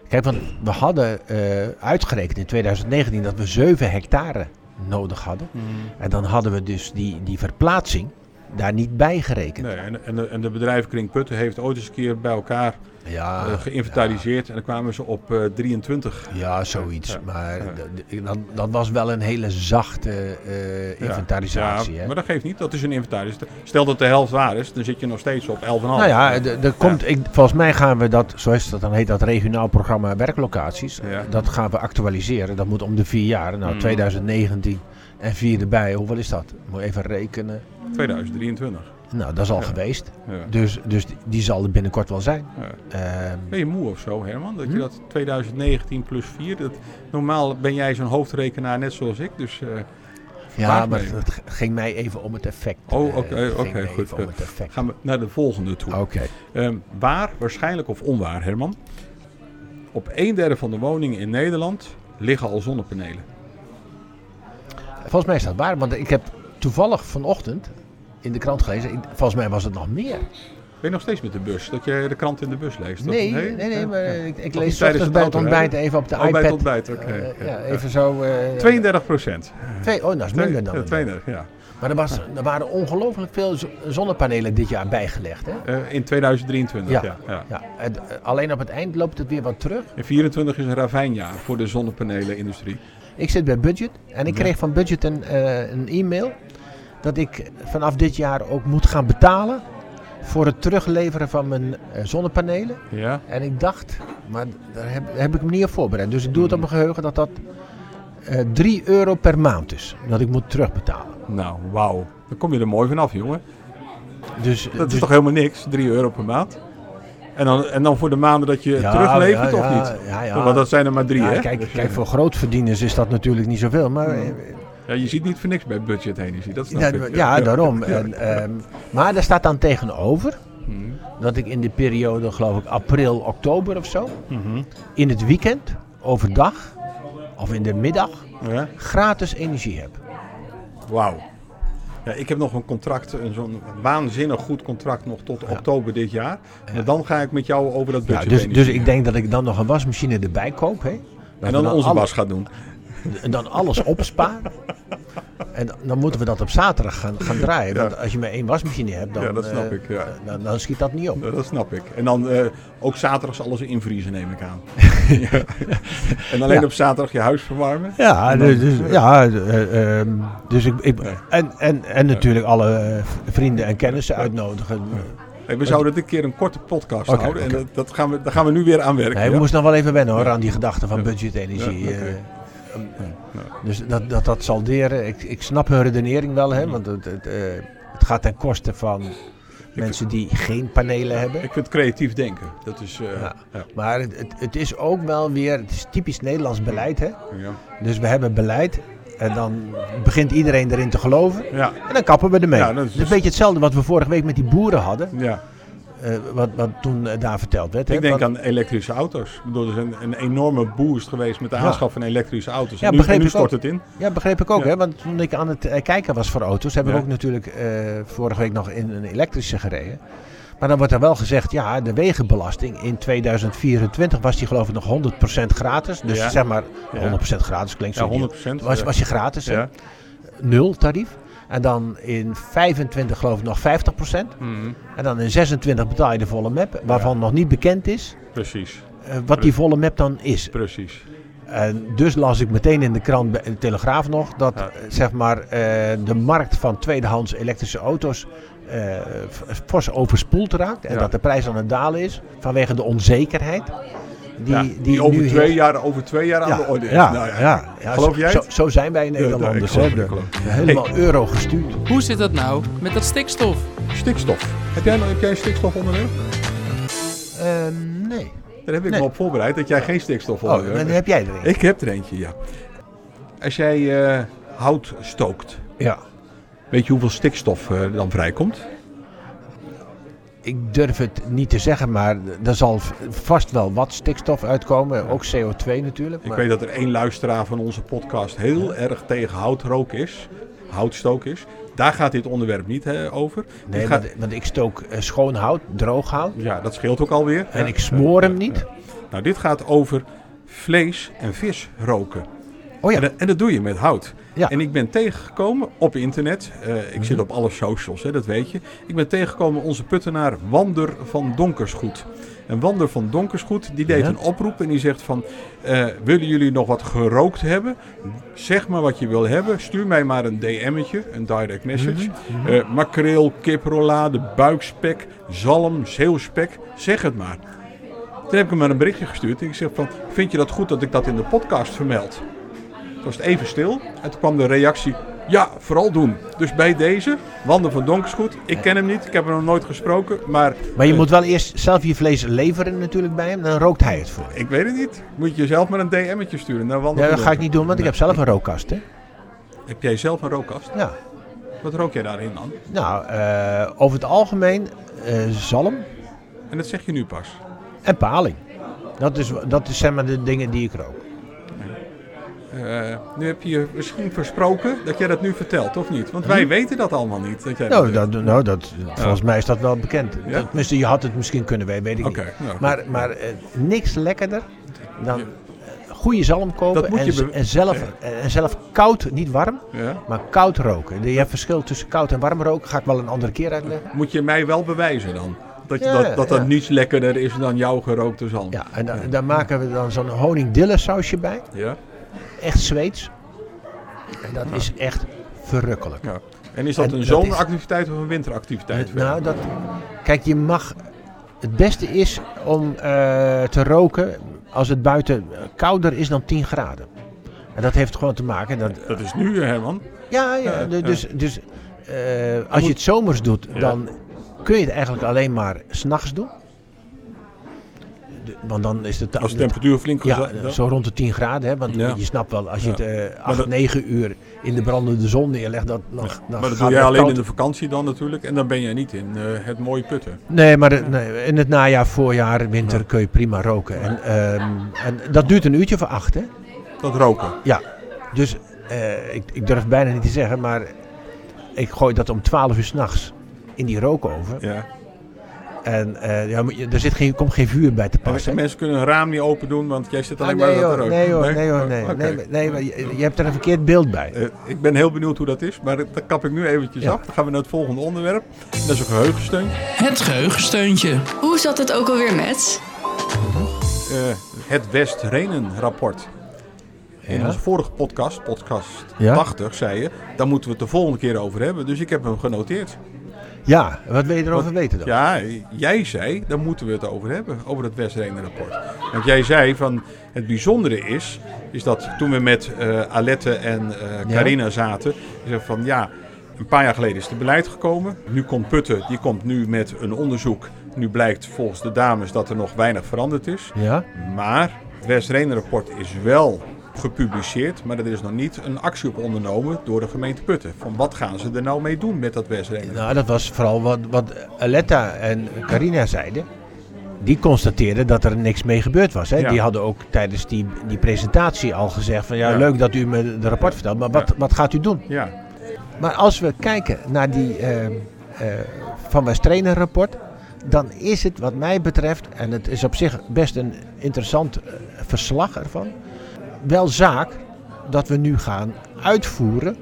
Speaker 3: Kijk, want we hadden eh, uitgerekend in 2019 dat we 7 hectare nodig hadden.
Speaker 2: mm,
Speaker 3: En dan hadden we dus die, die verplaatsing daar niet bij gerekend.
Speaker 2: nee, en, en, de, en de bedrijvenkring Putten heeft ooit eens een keer bij elkaar eh,
Speaker 3: Ah, Ja,
Speaker 2: geïnventariseerd en dan kwamen ze op eh, 23.
Speaker 3: ja, zoiets.
Speaker 2: Ja,
Speaker 3: maar
Speaker 2: ja.
Speaker 3: d- d- dat, dat was wel een hele zachte eh,
Speaker 2: Ja.
Speaker 3: inventarisatie.
Speaker 2: Ja,
Speaker 3: hè?
Speaker 2: Maar dat geeft niet, dat is een inventaris. Stel dat de helft waar is, dan zit je nog steeds op 11,5.
Speaker 3: Nou ja, d- d- er komt, ik, volgens mij gaan we dat, zoals dat dan heet, dat regionaal programma werklocaties,
Speaker 2: Ja.
Speaker 3: dat gaan we actualiseren. Dat moet om de vier jaar, nou
Speaker 2: Mm.
Speaker 3: 2019 en vier erbij, hoeveel is dat? Moet even rekenen.
Speaker 2: 2023.
Speaker 3: Nou, dat is al
Speaker 2: Ja.
Speaker 3: geweest.
Speaker 2: Ja.
Speaker 3: Dus, dus die- die zal er binnenkort wel zijn.
Speaker 2: Ja.
Speaker 3: Ehm,
Speaker 2: Ben je moe of zo, Herman? Dat je
Speaker 3: Hm?
Speaker 2: dat 2019 plus 4. Dat, normaal ben jij zo'n hoofdrekenaar net zoals ik. Dus eh,
Speaker 3: ja,
Speaker 2: verbaas
Speaker 3: maar
Speaker 2: me.
Speaker 3: het g- ging mij even om het effect.
Speaker 2: Oh,
Speaker 3: eh,
Speaker 2: oké,
Speaker 3: het ging
Speaker 2: oké,
Speaker 3: mij
Speaker 2: goed,
Speaker 3: even om
Speaker 2: eh,
Speaker 3: het effect.
Speaker 2: gaan we naar de volgende toe.
Speaker 3: Oké.
Speaker 2: Ehm, waar, waarschijnlijk of onwaar, Herman? Op een derde van de woningen in Nederland liggen al zonnepanelen.
Speaker 3: Volgens mij is dat waar, want ik heb toevallig vanochtend in de krant gelezen, ik- volgens mij was het nog meer.
Speaker 2: Ben je nog steeds met de bus? Dat je de krant in de bus leest? of-
Speaker 3: Nee, nee, nee, maar eh, ik, ik
Speaker 2: Of
Speaker 3: lees
Speaker 2: tijdens
Speaker 3: ochtends
Speaker 2: het
Speaker 3: bij het
Speaker 2: autorijden?
Speaker 3: ontbijt even op de
Speaker 2: Oh, bij het
Speaker 3: iPad.
Speaker 2: ontbijt, oké,
Speaker 3: eh,
Speaker 2: oké,
Speaker 3: ja,
Speaker 2: ja.
Speaker 3: even zo. eh,
Speaker 2: 32 procent.
Speaker 3: Twee, oh, dat is minder dan.
Speaker 2: 32, ja.
Speaker 3: Maar er, was, er waren ongelooflijk veel zo- zonnepanelen dit jaar bijgelegd. Hè?
Speaker 2: Eh, in 2023, ja. ja,
Speaker 3: Ja, het- eh, alleen op het eind loopt het weer wat terug.
Speaker 2: En 24 is een ravijnjaar voor de zonnepanelenindustrie.
Speaker 3: Ik zit bij Budget en ik kreeg van Budget een, eh, een e-mail dat ik vanaf dit jaar ook moet gaan betalen voor het terugleveren van mijn eh, zonnepanelen.
Speaker 2: Ja.
Speaker 3: En ik dacht, maar daar heb, heb ik me niet op voorbereid. Dus ik doe het op mijn
Speaker 2: Hmm.
Speaker 3: geheugen dat dat eh 3 euro per maand is. Dat ik moet terugbetalen.
Speaker 2: Nou, wauw. Dan kom je er mooi vanaf, jongen.
Speaker 3: Dus,
Speaker 2: Dat
Speaker 3: dus-
Speaker 2: is toch helemaal niks, 3 euro per maand. En dan, en dan voor de maanden dat je het
Speaker 3: Ja,
Speaker 2: teruglevert
Speaker 3: ja,
Speaker 2: of
Speaker 3: ja,
Speaker 2: niet?
Speaker 3: ja, ja.
Speaker 2: Want dat zijn er maar drie,
Speaker 3: Ja,
Speaker 2: hè? Dus, eh,
Speaker 3: kijk, kijk, voor grootverdieners is dat natuurlijk niet zoveel. Maar eh,
Speaker 2: Ja, je ziet niet voor niks bij budget energie. Dat snap
Speaker 3: ja,
Speaker 2: ik.
Speaker 3: ja, daarom. En, ehm, maar daar staat dan tegenover
Speaker 2: Hmm.
Speaker 3: dat ik in de periode, geloof ik, april, oktober of zo,
Speaker 2: Hmm.
Speaker 3: in het weekend, overdag of in de middag,
Speaker 2: Ja?
Speaker 3: gratis energie heb.
Speaker 2: Wauw. Ja, ik heb nog een contract, een zo'n waanzinnig goed contract nog tot oktober dit jaar. En dan ga ik met jou over dat
Speaker 3: Ja,
Speaker 2: budget
Speaker 3: dus,
Speaker 2: energie.
Speaker 3: dus ik denk dat ik dan nog een wasmachine erbij koop. Hè? Dat
Speaker 2: en
Speaker 3: we
Speaker 2: dan onze
Speaker 3: alle-
Speaker 2: was gaat doen.
Speaker 3: En dan alles opsparen. En dan- dan moeten we dat op zaterdag gaan, gaan draaien.
Speaker 2: Ja.
Speaker 3: Want als je maar één wasmachine hebt, dan,
Speaker 2: Ja, dat snap
Speaker 3: eh,
Speaker 2: ik, ja.
Speaker 3: dan, dan schiet dat niet op.
Speaker 2: Ja, Dat snap ik. En dan eh, ook zaterdags alles invriezen, neem ik aan. Ja. En alleen
Speaker 3: Ja.
Speaker 2: op zaterdag je huis verwarmen.
Speaker 3: Ja,
Speaker 2: En dan-
Speaker 3: dus, dus- ja eh, ehm, dus ik, ik, en, en, en natuurlijk alle eh, v- vrienden en kennissen uitnodigen.
Speaker 2: Hey, we zouden dit keer een korte podcast
Speaker 3: Oké,
Speaker 2: houden.
Speaker 3: oké.
Speaker 2: En dat, dat gaan we, daar gaan we nu weer aan werken.
Speaker 3: Nee, we
Speaker 2: ja?
Speaker 3: moesten nog wel even wennen hoor, aan die gedachte van budgetenergie.
Speaker 2: Ja, oké.
Speaker 3: eh, Dus dat, dat dat salderen, ik, ik snap hun redenering wel, hè, want het, het, eh, het gaat ten koste van mensen die geen panelen hebben.
Speaker 2: Ik vind creatief denken. Dat is... eh,
Speaker 3: Ja.
Speaker 2: ja.
Speaker 3: Maar het, het, het is ook wel weer, het is typisch Nederlands beleid hè.
Speaker 2: Ja.
Speaker 3: Dus we hebben beleid en dan begint iedereen erin te geloven.
Speaker 2: Ja.
Speaker 3: En dan kappen we ermee.
Speaker 2: Ja, dat is-
Speaker 3: Het is een beetje hetzelfde wat we vorige week met die boeren hadden.
Speaker 2: Ja.
Speaker 3: eh, wat, wat toen eh, daar verteld werd. hè,
Speaker 2: Ik denk
Speaker 3: van-
Speaker 2: aan elektrische auto's. Ik bedoel, er is een, een enorme boost geweest met de
Speaker 3: Ja.
Speaker 2: aanschaf van elektrische auto's.
Speaker 3: Ja,
Speaker 2: en nu,
Speaker 3: begreep
Speaker 2: en nu
Speaker 3: ik ook.
Speaker 2: stort het in.
Speaker 3: Ja, begreep ik ook.
Speaker 2: Ja.
Speaker 3: Hè? Want toen ik aan het eh, kijken was voor auto's, heb ik
Speaker 2: Ja.
Speaker 3: ook natuurlijk eh, vorige week nog in een elektrische gereden. Maar dan wordt er wel gezegd, ja, de wegenbelasting in 2024 was die geloof ik nog 100% gratis. Dus
Speaker 2: Ja.
Speaker 3: zeg maar,
Speaker 2: Ja.
Speaker 3: 100% gratis klinkt zo
Speaker 2: Ja,
Speaker 3: idioot.
Speaker 2: 100%.
Speaker 3: Was,
Speaker 2: ja.
Speaker 3: was je gratis, hè?
Speaker 2: Ja.
Speaker 3: nul tarief. En dan in 25 geloof ik nog 50%.
Speaker 2: Mhm.
Speaker 3: En dan in 26 betaal je de volle map, waarvan nog niet bekend is
Speaker 2: Precies,
Speaker 3: eh, wat die volle map dan is.
Speaker 2: precies.
Speaker 3: En dus las ik meteen in de krant bij de Telegraaf nog dat
Speaker 2: Ja.
Speaker 3: eh, zeg maar, eh, de markt van tweedehands elektrische auto's eh, f- fors overspoeld raakt. En
Speaker 2: Ja.
Speaker 3: dat de prijs aan het dalen is vanwege de onzekerheid. Die,
Speaker 2: Ja,
Speaker 3: die,
Speaker 2: die, over,
Speaker 3: nu
Speaker 2: twee
Speaker 3: heerst.
Speaker 2: jaar, over twee jaar aan
Speaker 3: ja,
Speaker 2: de orde is.
Speaker 3: Ja,
Speaker 2: Nou
Speaker 3: ja, ja,
Speaker 2: Geloof
Speaker 3: zo,
Speaker 2: jij
Speaker 3: Zo,
Speaker 2: het?
Speaker 3: zo zijn wij Nederlanders.
Speaker 2: Ja, ja, ik
Speaker 3: hè.
Speaker 2: geloof het, ik geloof het.
Speaker 3: Helemaal euro gestuurd.
Speaker 1: Hoe zit dat nou met dat stikstof?
Speaker 2: Stikstof. Heb jij, nog- heb jij een stikstofonderwerp?
Speaker 3: Eh, nee.
Speaker 2: Daar heb ik
Speaker 3: Nee.
Speaker 2: me op voorbereid dat jij geen stikstof
Speaker 3: Oh, dan heb jij er een.
Speaker 2: Ik heb er eentje, ja. Als jij eh, hout stookt,
Speaker 3: Ja.
Speaker 2: weet je hoeveel stikstof eh, dan vrijkomt?
Speaker 3: Ik durf het niet te zeggen, maar er zal v- vast wel wat stikstof uitkomen. Ook CO2 natuurlijk.
Speaker 2: Ik
Speaker 3: maar-
Speaker 2: weet dat er één luisteraar van onze podcast heel erg tegen houtrook is, houtstook is. Daar gaat dit onderwerp niet hè, over. Dit
Speaker 3: Nee,
Speaker 2: gaat-
Speaker 3: want, want ik stook eh, schoon hout, droog hout.
Speaker 2: ja, dat scheelt ook alweer.
Speaker 3: En
Speaker 2: Ja.
Speaker 3: ik smoor hem niet.
Speaker 2: Nou, dit gaat over vlees en vis roken.
Speaker 3: Oh
Speaker 2: En,
Speaker 3: ja,
Speaker 2: dat, en dat doe je met hout.
Speaker 3: Ja. Mhm.
Speaker 2: En ik ben tegengekomen op internet. eh, ik zit op alle socials, hè, dat weet je. Ik ben tegengekomen onze puttenaar Wander van Donkersgoed. En Wander van Donkersgoed die deed
Speaker 3: Ja.
Speaker 2: een oproep en die zegt van... eh, willen jullie nog wat gerookt hebben? Zeg maar wat je wil hebben. Stuur mij maar een DM'tje, een direct message.
Speaker 3: Mhm.
Speaker 2: Eh, makreel, kiprolade, buikspek, zalm, zeeuwspek. Zeg het maar. Toen heb ik hem maar een berichtje gestuurd. En ik zeg van, vind je dat goed dat ik dat in de podcast vermeld? Toen was het even stil. En toen kwam de reactie, ja, vooral doen. Dus bij deze, Wander van Donkersgoed. Ik ken hem niet, ik heb hem nog nooit gesproken. Maar,
Speaker 3: maar je
Speaker 2: eh,
Speaker 3: moet wel eerst zelf je vlees leveren natuurlijk bij hem. Dan rookt hij het voor.
Speaker 2: Ik weet het niet. Moet je zelf maar een DM'tje sturen naar Wander
Speaker 3: Ja,
Speaker 2: van
Speaker 3: dat ga ik niet doen, want ik heb zelf een rookkast. Hè?
Speaker 2: Donkersgoed. Heb jij zelf een rookkast?
Speaker 3: Ja.
Speaker 2: Wat rook jij daarin dan?
Speaker 3: Nou, eh, over het algemeen eh, zalm
Speaker 2: En dat zeg je nu pas.
Speaker 3: en paling. Dat is, dat is zeg maar de dingen die ik rook.
Speaker 2: eh, nu heb je je misschien versproken dat jij dat nu vertelt, of niet? Want wij weten dat allemaal niet. Dat jij
Speaker 3: Hm. Nou,
Speaker 2: dat
Speaker 3: dat, nou dat, volgens mij is dat wel bekend.
Speaker 2: Ja?
Speaker 3: Dat, tenminste, je had het misschien kunnen weten, weet ik
Speaker 2: Oké,
Speaker 3: niet.
Speaker 2: nou, goed.
Speaker 3: maar maar eh, niks lekkerder dan eh, goede zalm kopen
Speaker 2: Dat moet
Speaker 3: en,
Speaker 2: je
Speaker 3: z-
Speaker 2: be-
Speaker 3: en, zelf, eh, en zelf koud, niet warm,
Speaker 2: Ja.
Speaker 3: maar koud roken. Je hebt verschil tussen koud en warm roken, ga ik wel een andere keer uitleggen.
Speaker 2: Moet je mij wel bewijzen dan? Dat je
Speaker 3: Ja,
Speaker 2: dat, dat, dat
Speaker 3: ja.
Speaker 2: niets lekkerder is dan jouw gerookte zalm.
Speaker 3: Ja, en da- daar maken we dan zo'n honingdillensausje bij,
Speaker 2: Ja?
Speaker 3: echt Zweeds. En dat is echt verrukkelijk.
Speaker 2: Ja. En is dat
Speaker 3: En
Speaker 2: een
Speaker 3: dat
Speaker 2: zomeractiviteit of een winteractiviteit?
Speaker 3: Nou, dat, kijk, je mag. Het beste is om eh, te roken als het buiten kouder is dan 10 graden. En dat heeft gewoon te maken dat.
Speaker 2: dat is nu, Herman.
Speaker 3: Ja, ja,
Speaker 2: Ja,
Speaker 3: de-
Speaker 2: ja.
Speaker 3: dus, dus eh, als je het zomers doet, dan kun je het eigenlijk alleen maar s'nachts doen. De- want dan is het.
Speaker 2: Als de temperatuur flink
Speaker 3: Ja,
Speaker 2: gezakt-
Speaker 3: zo rond de 10 graden. Hè, want
Speaker 2: Ja.
Speaker 3: je snapt wel, als je
Speaker 2: Ja.
Speaker 3: het eh 8,
Speaker 2: dat-
Speaker 3: 9 uur in de brandende zon neerlegt, dan, dan, dan
Speaker 2: Maar dat
Speaker 3: gaat
Speaker 2: doe
Speaker 3: het
Speaker 2: jij alleen
Speaker 3: koud-
Speaker 2: in de vakantie dan natuurlijk. En dan ben jij niet in eh, het mooie putten.
Speaker 3: Nee, maar de- nee, in het najaar, voorjaar, winter kun je prima roken. En, ehm, en dat duurt een uurtje of acht, hè?
Speaker 2: Dat roken.
Speaker 3: Ja. Dus eh, ik, ik durf bijna niet te zeggen, maar ik gooi dat om twaalf uur s'nachts in die rookoven.
Speaker 2: Ja.
Speaker 3: En eh, ja, maar je- er zit geen, komt geen vuur bij te
Speaker 2: En
Speaker 3: passen.
Speaker 2: mensen kunnen een raam niet open doen, want jij zit
Speaker 3: Ah,
Speaker 2: alleen
Speaker 3: nee,
Speaker 2: maar dat te
Speaker 3: hoor,
Speaker 2: roken.
Speaker 3: nee hoor, nee hoor, nee.
Speaker 2: Oh, oké.
Speaker 3: nee, maar- nee, maar je, je hebt er een verkeerd beeld bij.
Speaker 2: Eh, ik ben heel benieuwd hoe dat is, maar dat kap ik nu eventjes
Speaker 3: Ja.
Speaker 2: af. Dan gaan we naar het volgende onderwerp. Dat is een geheugensteun.
Speaker 1: Het geheugensteuntje.
Speaker 4: Hoe zat het ook alweer met?
Speaker 2: Eh, het West-Renen-rapport. In
Speaker 3: Ja.
Speaker 2: onze vorige podcast, podcast
Speaker 3: Ja.
Speaker 2: 80, zei je, daar moeten we het de volgende keer over hebben. Dus ik heb hem genoteerd.
Speaker 3: Ja, wat wil je erover weten dan?
Speaker 2: Ja, jij zei, daar moeten we het over hebben, over het West-Renen-rapport. Want jij zei van, het bijzondere is, is dat toen we met eh, Alette en eh
Speaker 3: Ja.
Speaker 2: Carina zaten, je zei van ja, een paar jaar geleden is het beleid gekomen. Nu komt Putten, die komt nu met een onderzoek. Nu blijkt volgens de dames dat er nog weinig veranderd is.
Speaker 3: Ja?
Speaker 2: Maar het West-Renen-rapport is wel gepubliceerd, maar er is nog niet een actie op ondernomen door de gemeente Putten. Van wat gaan ze er nou mee doen met dat West-Renen?
Speaker 3: Nou, dat was vooral wat, wat Aletta en Carina zeiden. Die constateerden dat er niks mee gebeurd was. Hè?
Speaker 2: Ja.
Speaker 3: Die hadden ook tijdens die, die presentatie al gezegd van... Ja,
Speaker 2: Ja.
Speaker 3: leuk dat u me de rapport vertelt, maar wat,
Speaker 2: Ja.
Speaker 3: wat gaat u doen?
Speaker 2: Ja,
Speaker 3: Maar als we kijken naar die eh, eh, Van West Trainer rapport... dan is het wat mij betreft, en het is op zich best een interessant eh, verslag ervan... wel zaak dat we nu gaan uitvoeren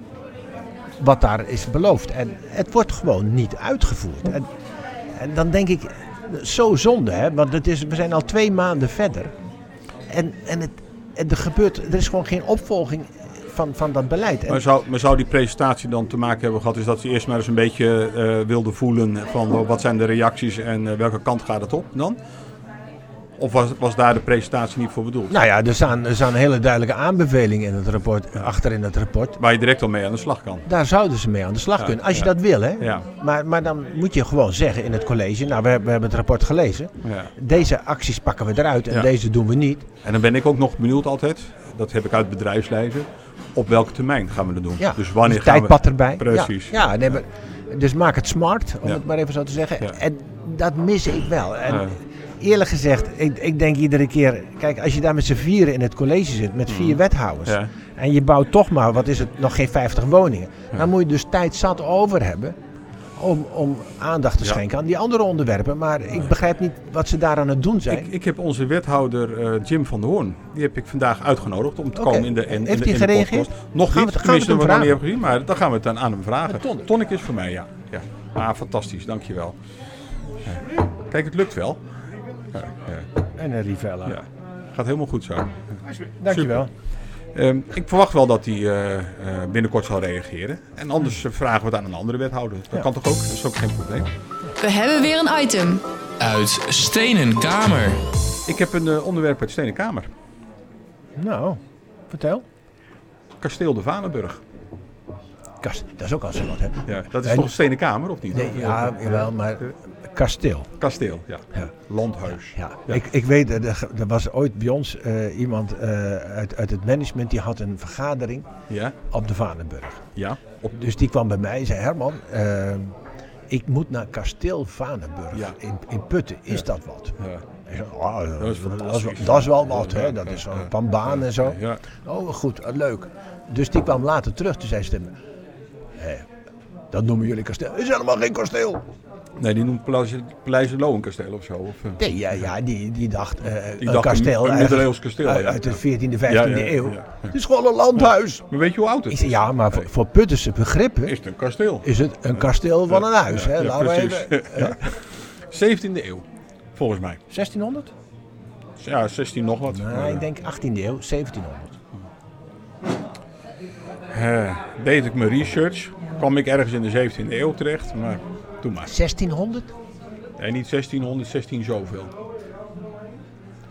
Speaker 3: wat daar is beloofd. En het wordt gewoon niet uitgevoerd. En, en dan denk ik, zo zonde, hè? want het is, we zijn al twee maanden verder. En, en, het, en er, gebeurt, er is gewoon geen opvolging van, van dat beleid. En
Speaker 2: Maar zou, maar zou die presentatie dan te maken hebben gehad, is dat ze eerst maar eens een beetje eh wilde voelen van eh, wat zijn de reacties en eh, welke kant gaat het op dan? Of was, was daar de presentatie niet voor bedoeld?
Speaker 3: Nou ja, er staan, er staan hele duidelijke aanbevelingen in het rapport, eh, achter in het rapport.
Speaker 2: Waar je direct al mee aan de slag kan.
Speaker 3: Daar zouden ze mee aan de slag
Speaker 2: Ja,
Speaker 3: kunnen, als je
Speaker 2: ja.
Speaker 3: dat wil. Hè?
Speaker 2: Ja.
Speaker 3: Maar, maar dan moet je gewoon zeggen in het college, nou we, hebben- we hebben het rapport gelezen.
Speaker 2: ja.
Speaker 3: Deze acties pakken we eruit en
Speaker 2: Ja.
Speaker 3: deze doen we niet.
Speaker 2: En dan ben ik ook nog benieuwd altijd, dat heb ik uit bedrijfsleven, op welke termijn gaan we dat doen?
Speaker 3: Ja.
Speaker 2: Dus wanneer
Speaker 3: dus
Speaker 2: gaan
Speaker 3: tijdpad
Speaker 2: we...
Speaker 3: erbij.
Speaker 2: Precies.
Speaker 3: Ja, ja, nee, maar- dus maak het smart, om
Speaker 2: Ja.
Speaker 3: het maar even zo te zeggen.
Speaker 2: Ja.
Speaker 3: En dat mis ik wel. En
Speaker 2: Ja.
Speaker 3: eerlijk gezegd, ik, ik denk iedere keer... Kijk, als je daar met z'n vieren in het college zit, met vier wethouders...
Speaker 2: Mm. Ja.
Speaker 3: en je bouwt toch maar, wat is het, nog geen 50 woningen... dan moet je dus tijd zat over hebben... Om, om aandacht te
Speaker 2: Ja.
Speaker 3: schenken aan die andere onderwerpen. Maar ik begrijp niet wat ze daar aan het doen zijn.
Speaker 2: Ik, ik heb onze wethouder eh, Jim van der Hoorn, die heb ik vandaag uitgenodigd om te
Speaker 3: Oké.
Speaker 2: komen in de, in, in
Speaker 3: Heeft
Speaker 2: de,
Speaker 3: hij
Speaker 2: in de
Speaker 3: gereageerd?
Speaker 2: podcast. Nog
Speaker 3: Gaan we het- gaan we
Speaker 2: niet,
Speaker 3: het
Speaker 2: tenminste
Speaker 3: hem
Speaker 2: we nog niet
Speaker 3: vragen?
Speaker 2: hebben gezien, maar dan gaan we het dan aan hem vragen.
Speaker 3: Ja, Ton-
Speaker 2: Tonic is voor mij, ja. ja. Ah, fantastisch, dankjewel. Ja. Kijk, het lukt wel.
Speaker 3: En een Rivella.
Speaker 2: Ja. Gaat helemaal goed zo.
Speaker 3: Dankjewel.
Speaker 2: Ehm, ik verwacht wel dat hij eh, eh, binnenkort zal reageren. En anders
Speaker 3: Hmm.
Speaker 2: eh, vragen we het aan een andere wethouder. Dat kan toch ook? Dat is ook geen probleem.
Speaker 4: We hebben weer een item.
Speaker 1: Uit Stenen Kamer.
Speaker 2: Ik heb een eh, onderwerp uit Stenen Kamer.
Speaker 3: Nou, vertel.
Speaker 2: Kasteel de Vanenburg.
Speaker 3: Kast, dat is ook al zo wat, hè?
Speaker 2: Ja, dat is
Speaker 3: En-
Speaker 2: toch Stenen Kamer, of niet?
Speaker 3: Nee, ja, jawel, maar kasteel.
Speaker 2: Kasteel, ja.
Speaker 3: Ja.
Speaker 2: Landhuis.
Speaker 3: Ja, Ik, ik weet, eh, er, er was ooit bij ons eh, iemand eh, uit, uit het management die had een vergadering
Speaker 2: Ja,
Speaker 3: op de Vanenburg.
Speaker 2: ja. Op,
Speaker 3: Dus die kwam bij mij en zei: Herman, eh, ik moet naar kasteel Vanenburg
Speaker 2: Ja.
Speaker 3: in, in Putten. Is dat wat?
Speaker 2: ja.
Speaker 3: En Ik zeg, oh, dat,
Speaker 2: is
Speaker 3: is
Speaker 2: fantastisch.
Speaker 3: dat is wel wat, hè? dat
Speaker 2: ja,
Speaker 3: is
Speaker 2: ja,
Speaker 3: zo'n pambaan en zo.
Speaker 2: Ja.
Speaker 3: Oh, goed, eh, leuk. Dus die kwam later terug, toen zei ze tegen me, "Hé, dat noemen jullie kasteel. is helemaal geen kasteel.
Speaker 2: Nee, die noemt Paleis- Paleis Lo een kasteel of zo. Of, eh.
Speaker 3: Nee, ja, ja die, die dacht, eh, een
Speaker 2: dacht een-
Speaker 3: kasteel.
Speaker 2: een
Speaker 3: ergens
Speaker 2: middeleeuws kasteel,
Speaker 3: Uit,
Speaker 2: ja.
Speaker 3: uit de 14e, 15e
Speaker 2: Ja, ja, ja,
Speaker 3: eeuw.
Speaker 2: ja.
Speaker 3: Het is gewoon een landhuis.
Speaker 2: Maar weet je hoe oud het
Speaker 3: Ik
Speaker 2: is?
Speaker 3: zei, ja, maar voor, voor Puttense begrippen
Speaker 2: Is het een kasteel?
Speaker 3: is het een kasteel van een huis. hè?
Speaker 2: ja,
Speaker 3: Laten we
Speaker 2: precies.
Speaker 3: even- eh,
Speaker 2: Ja. 17e eeuw, volgens mij.
Speaker 3: 1600?
Speaker 2: Ja, 16 nog wat.
Speaker 3: Nou, ik denk 18e eeuw, 1700.
Speaker 2: Eh, deed ik mijn research, kwam ik ergens in de 17e eeuw terecht, maar doe maar.
Speaker 3: 1600?
Speaker 2: Nee, niet 1600, 16 zoveel.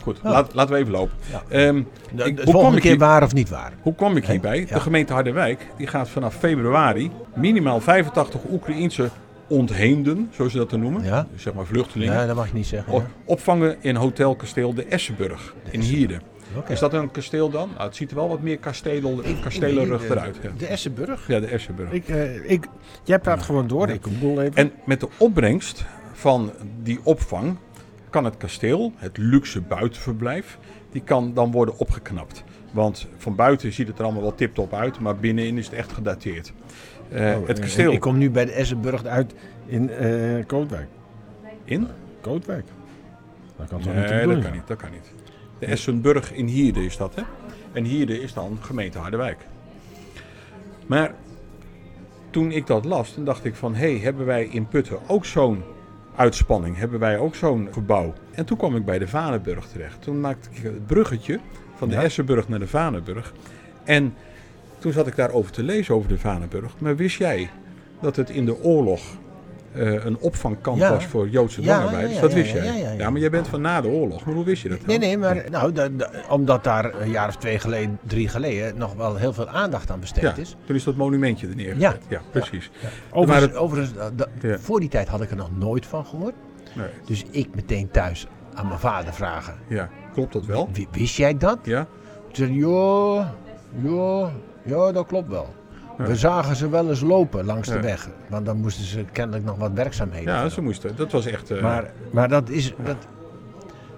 Speaker 2: Goed,
Speaker 3: Ja.
Speaker 2: laat, laten we even lopen.
Speaker 3: Ja.
Speaker 2: Ehm,
Speaker 3: De,
Speaker 2: ik-
Speaker 3: de
Speaker 2: hoe, kwam
Speaker 3: volgende
Speaker 2: ik
Speaker 3: keer
Speaker 2: hier,
Speaker 3: waar of niet waar?
Speaker 2: hoe kwam ik hierbij?
Speaker 3: Ja.
Speaker 2: De gemeente Harderwijk die gaat vanaf februari minimaal 85 Oekraïense ontheemden, zoals ze dat te noemen,
Speaker 3: Ja.
Speaker 2: dus zeg maar vluchtelingen,
Speaker 3: Nee, dat mag je niet zeggen.
Speaker 2: op-
Speaker 3: ja.
Speaker 2: opvangen in Hotel Kasteel de Essenburg in Hierden.
Speaker 3: Oké.
Speaker 2: Is dat een kasteel dan? Nou, het ziet er wel wat meer kasteel, kastelenrug
Speaker 3: eh,
Speaker 2: eruit. Ja,
Speaker 5: De Essenburg.
Speaker 2: ja de Essenburg.
Speaker 5: Ik, eh, ik, jij praat gewoon door. Ik bedoel even.
Speaker 2: En met de opbrengst van die opvang kan het kasteel, het luxe buitenverblijf, die kan dan worden opgeknapt. Want van buiten ziet het er allemaal wel tip-top uit, maar binnenin is het echt gedateerd. Eh,
Speaker 5: Oh,
Speaker 2: het
Speaker 5: eh,
Speaker 2: kasteel
Speaker 5: Ik kom nu bij de Essenburg uit in eh Kootwijk.
Speaker 2: in?
Speaker 5: Kootwijk. Dat kan toch niet de
Speaker 2: Nee, dat
Speaker 5: bedoeling
Speaker 2: kan
Speaker 5: zijn?
Speaker 2: niet, dat kan niet. De Essenburg in Hierde is dat, hè? En Hierde is dan gemeente Harderwijk. Maar toen ik dat las, dan dacht ik van... hé, hey, hebben wij in Putten ook zo'n uitspanning? Hebben wij ook zo'n gebouw? En toen kwam ik bij de Vaneburg terecht. Toen maakte ik het bruggetje van de Essenburg naar de Vaneburg. En toen zat ik daarover te lezen over de Vaneburg. Maar wist jij dat het in de oorlog... eh, een opvangkamp
Speaker 3: Ja.
Speaker 2: was voor Joodse
Speaker 3: Ja, ja,
Speaker 2: dwangarbeiders.
Speaker 3: ja,
Speaker 2: dat
Speaker 3: ja,
Speaker 2: wist
Speaker 3: ja,
Speaker 2: jij.
Speaker 3: ja, ja, ja.
Speaker 2: maar jij bent van na de oorlog. Maar hoe wist je dat? dan?
Speaker 3: Nee, nee, maar nou, da- da- omdat daar een jaar of twee geleden, drie geleden, nog wel heel veel aandacht aan besteed
Speaker 2: Ja,
Speaker 3: is.
Speaker 2: toen is dat monumentje er neergezet. Ja, precies.
Speaker 3: Overigens, overigens eh, da- da-
Speaker 2: Ja.
Speaker 3: voor die tijd had ik er nog nooit van gehoord.
Speaker 2: Nee.
Speaker 3: Dus ik meteen thuis aan mijn vader vragen.
Speaker 2: Ja, klopt dat wel?
Speaker 3: "Wi- Wist jij dat?
Speaker 2: Ja,
Speaker 3: Toen zei hij, ja, ja, ja, dat klopt wel.
Speaker 2: Ja.
Speaker 3: We zagen ze wel eens lopen langs
Speaker 2: Ja.
Speaker 3: de weg. Want dan moesten ze kennelijk nog wat werkzaamheden.
Speaker 2: ja
Speaker 3: doen.
Speaker 2: ze moesten. Dat was echt... eh,
Speaker 3: maar, maar dat is... Dat,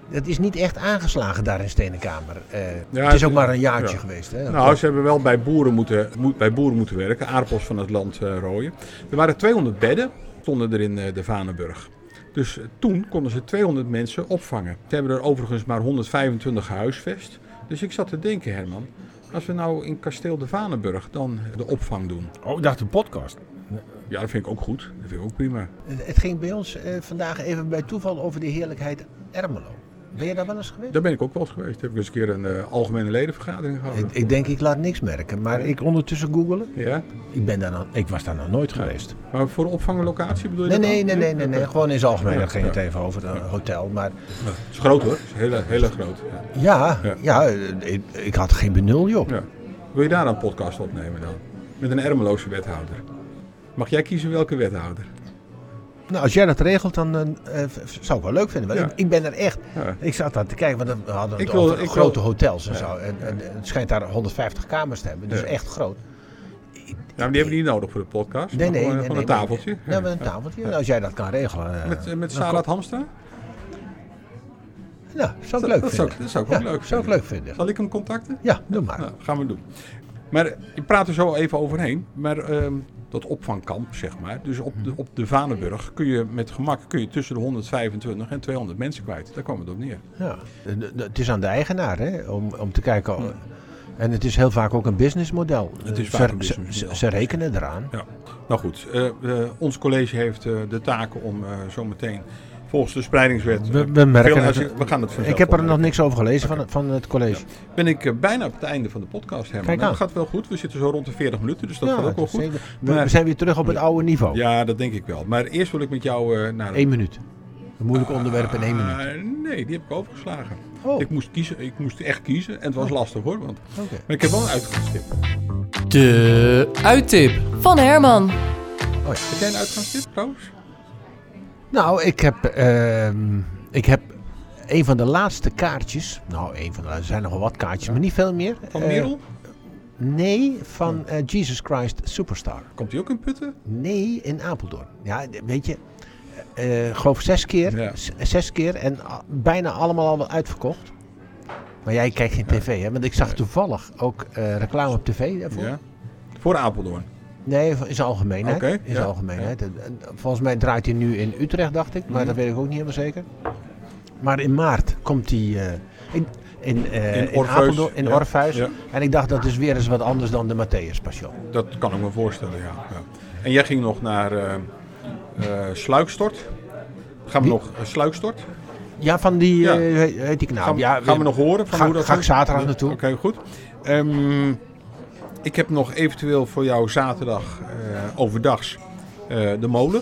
Speaker 3: dat is niet echt aangeslagen daar in Stenenkamer. Eh,
Speaker 2: Ja,
Speaker 3: het is ook
Speaker 2: het-
Speaker 3: maar een jaartje
Speaker 2: ja.
Speaker 3: geweest. Hè?
Speaker 2: Nou, ze hebben wel bij boeren moeten, moet- bij boeren moeten werken, aardappels van het land eh, rooien. Er waren 200 bedden, stonden er in eh, de Vanenburg. Dus eh, toen konden ze 200 mensen opvangen. Ze hebben er overigens maar 125 gehuisvest. Dus ik zat te denken, Herman, als we nou in Kasteel de Vanenburg dan de opvang doen.
Speaker 5: Oh, ik dacht een podcast.
Speaker 2: Ja, dat vind ik ook goed. Dat vind ik ook prima.
Speaker 3: Het het ging bij ons eh, vandaag even bij toeval over de heerlijkheid Ermelo. Ben je daar wel eens geweest?
Speaker 2: Daar ben ik ook wel eens geweest. Heb ik eens een keer een eh, algemene ledenvergadering gehouden.
Speaker 3: Ik, ik denk, ik laat niks merken. Maar ik ondertussen googelen.
Speaker 2: Ja,
Speaker 3: Ik, ben daar nog, ik was daar nog nooit geweest.
Speaker 2: maar voor opvanglocatie bedoel je
Speaker 3: Nee,
Speaker 2: dat
Speaker 3: nee,
Speaker 2: dan?
Speaker 3: nee, nee, nee, nee. Gewoon in zijn algemeen.
Speaker 2: Ja,
Speaker 3: Dat ging het
Speaker 2: ja.
Speaker 3: even over een hotel. Maar
Speaker 2: Ja, Het is groot hoor, het is hele, hele groot. Ja.
Speaker 3: ja,
Speaker 2: Ja.
Speaker 3: ja. eh, ik, ik had geen benul, joh.
Speaker 2: Ja. Wil je daar een podcast opnemen dan? Met een Ermeloze wethouder. Mag jij kiezen welke wethouder?
Speaker 3: Nou, als jij dat regelt, dan eh, eh, v- zou ik wel leuk vinden. Want
Speaker 2: Ja.
Speaker 3: ik, ik ben er echt.
Speaker 2: Ja.
Speaker 3: Ik zat daar te kijken, want we hadden
Speaker 2: Ik
Speaker 3: het
Speaker 2: wil-
Speaker 3: over
Speaker 2: ik
Speaker 3: grote
Speaker 2: wil-
Speaker 3: hotels en zo. En, en het schijnt daar 150 kamers te hebben, dus
Speaker 2: Ja.
Speaker 3: echt groot.
Speaker 2: Ja, maar die hebben die niet nodig voor de podcast. Maar
Speaker 3: Nee, nee,
Speaker 2: gewoon,
Speaker 3: nee,
Speaker 2: gewoon
Speaker 3: nee,
Speaker 2: een
Speaker 3: maar-
Speaker 2: tafeltje.
Speaker 3: Ja, met een tafeltje. Nou, als jij dat kan regelen. eh,
Speaker 2: Met, eh, met
Speaker 3: dan
Speaker 2: Sarah Hamstra?
Speaker 3: kom- Nou, zou ik leuk
Speaker 2: dat
Speaker 3: vinden.
Speaker 2: zou ik- dat zou ik ook
Speaker 3: Ja,
Speaker 2: leuk
Speaker 3: Zou ik
Speaker 2: vinden.
Speaker 3: leuk vinden.
Speaker 2: Zal ik hem contacten?
Speaker 3: Ja, doe maar.
Speaker 2: Nou, gaan we doen. Maar eh, je praat er zo even overheen. Maar ehm, dat opvangkamp, zeg maar. Dus op de, op de Vanenburg kun je met gemak kun je tussen de 125 en 200 mensen kwijt. Daar kwam het op neer.
Speaker 3: Ja. De- de- de- Eh, Het is aan de eigenaar hè, om, om te kijken. of- En het is heel vaak ook een businessmodel.
Speaker 2: Het is
Speaker 3: Eh,
Speaker 2: vaak
Speaker 3: ze-
Speaker 2: een businessmodel.
Speaker 3: Ze, ze rekenen eraan.
Speaker 2: Ja, nou goed. eh, eh, ons college heeft eh, de taak om eh, zo meteen volgens de spreidingswet...
Speaker 3: We-
Speaker 2: eh,
Speaker 3: we merken
Speaker 2: veel-
Speaker 3: het.
Speaker 2: als je- we gaan het vanzelf
Speaker 3: Ik heb er
Speaker 2: oplossen.
Speaker 3: nog niks over gelezen van, van het college.
Speaker 2: Ben ik eh, bijna op het einde van de podcast, Herman.
Speaker 3: Kijk
Speaker 2: Nou,
Speaker 3: aan.
Speaker 2: dat gaat wel goed. We zitten zo rond de 40 minuten, dus dat gaat ook wel goed.
Speaker 3: zeker. We,
Speaker 2: Maar-
Speaker 3: we zijn weer terug op het oude niveau.
Speaker 2: Ja, dat denk ik wel. Maar eerst wil ik met jou eh, naar...
Speaker 3: Eén minuut. Een moeilijk onderwerp in één minuut.
Speaker 2: Ah, nee, die heb ik overgeslagen.
Speaker 3: Oh.
Speaker 2: Ik, moest kiezen, ik moest echt kiezen. En het was lastig hoor. Want...
Speaker 3: Oké.
Speaker 2: Maar ik heb wel een uitgangstip.
Speaker 1: De uittip.
Speaker 4: Van Herman.
Speaker 3: Oh ja.
Speaker 2: Heb jij een uitgangstip trouwens?
Speaker 3: Nou, ik heb, ehm, ik heb een van de laatste kaartjes. Nou, een van de, er zijn nog wel wat kaartjes, maar niet veel meer.
Speaker 2: Van
Speaker 3: Eh,
Speaker 2: Merel?
Speaker 3: nee, van eh, Jesus Christ Superstar.
Speaker 2: Komt hij ook in Putten?
Speaker 3: Nee, in Apeldoorn. Ja, d- weet je, eh geloof zes keer.
Speaker 2: Ja.
Speaker 3: Z- Zes keer en a- bijna allemaal allemaal uitverkocht. Maar jij kijkt geen tv, hè? Want ik zag toevallig ook eh, reclame op tv daarvoor.
Speaker 2: Ja. Voor Apeldoorn.
Speaker 3: Nee, in zijn algemeenheid.
Speaker 2: Oké,
Speaker 3: in zijn
Speaker 2: ja, Mhm.
Speaker 3: algemeenheid. En, en Volgens mij draait hij nu in Utrecht, dacht ik. Maar dat weet ik ook niet helemaal zeker. Maar in maart komt hij eh, in, in, eh,
Speaker 2: In
Speaker 3: in
Speaker 2: Orpheus,
Speaker 3: Apeldoorn, in
Speaker 2: ja,
Speaker 3: Orpheus.
Speaker 2: ja.
Speaker 3: En ik dacht, dat is weer eens wat anders dan de Matthäus Passion.
Speaker 2: Dat kan ik me voorstellen, ja. ja. En jij ging nog naar eh, eh, Sluikstort. Gaan we
Speaker 3: Wie?
Speaker 2: nog eh, Sluikstort?
Speaker 3: Ja, van die,
Speaker 2: Ja.
Speaker 3: eh, heet- heet die knaap.
Speaker 2: Gaan, we-
Speaker 3: ja,
Speaker 2: gaan we nog horen?
Speaker 3: Ga- ga
Speaker 2: gaat?
Speaker 3: ik zaterdag naartoe.
Speaker 2: Oké, goed. Ehm, ik heb nog eventueel voor jou zaterdag eh, overdags eh, de molen.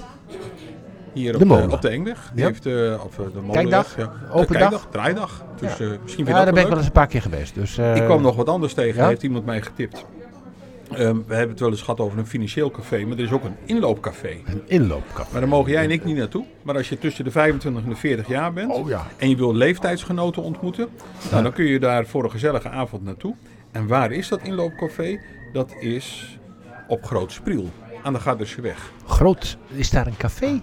Speaker 2: Hier op
Speaker 3: De
Speaker 2: de,
Speaker 3: molen.
Speaker 2: op de Engweg. Die
Speaker 3: Ja.
Speaker 2: heeft, eh, of eh, de molenweg,
Speaker 3: Kijkdag,
Speaker 2: ja.
Speaker 3: open
Speaker 2: De kijkdag,
Speaker 3: dag.
Speaker 2: draaidag. Dus eh, misschien
Speaker 3: Ja,
Speaker 2: vind
Speaker 3: daar
Speaker 2: je
Speaker 3: ben
Speaker 2: dat wel
Speaker 3: ik wel
Speaker 2: leuk.
Speaker 3: eens een paar keer geweest. Dus, eh,
Speaker 2: Ik kwam nog wat anders tegen,
Speaker 3: ja?
Speaker 2: heeft iemand mij getipt. Ehm, we hebben het wel eens gehad over een financieel café, maar er is ook een inloopcafé.
Speaker 3: Een inloopkap.
Speaker 2: Maar daar mogen jij en ik niet naartoe. Maar als je tussen de 25 en de 40 jaar bent
Speaker 3: Oh ja.
Speaker 2: en je wil leeftijdsgenoten ontmoeten, nou, dan kun je daar voor een gezellige avond naartoe. En waar is dat inloopcafé? Dat is op Groot Spriel, aan de Garderse weg.
Speaker 3: Groot, is daar een café?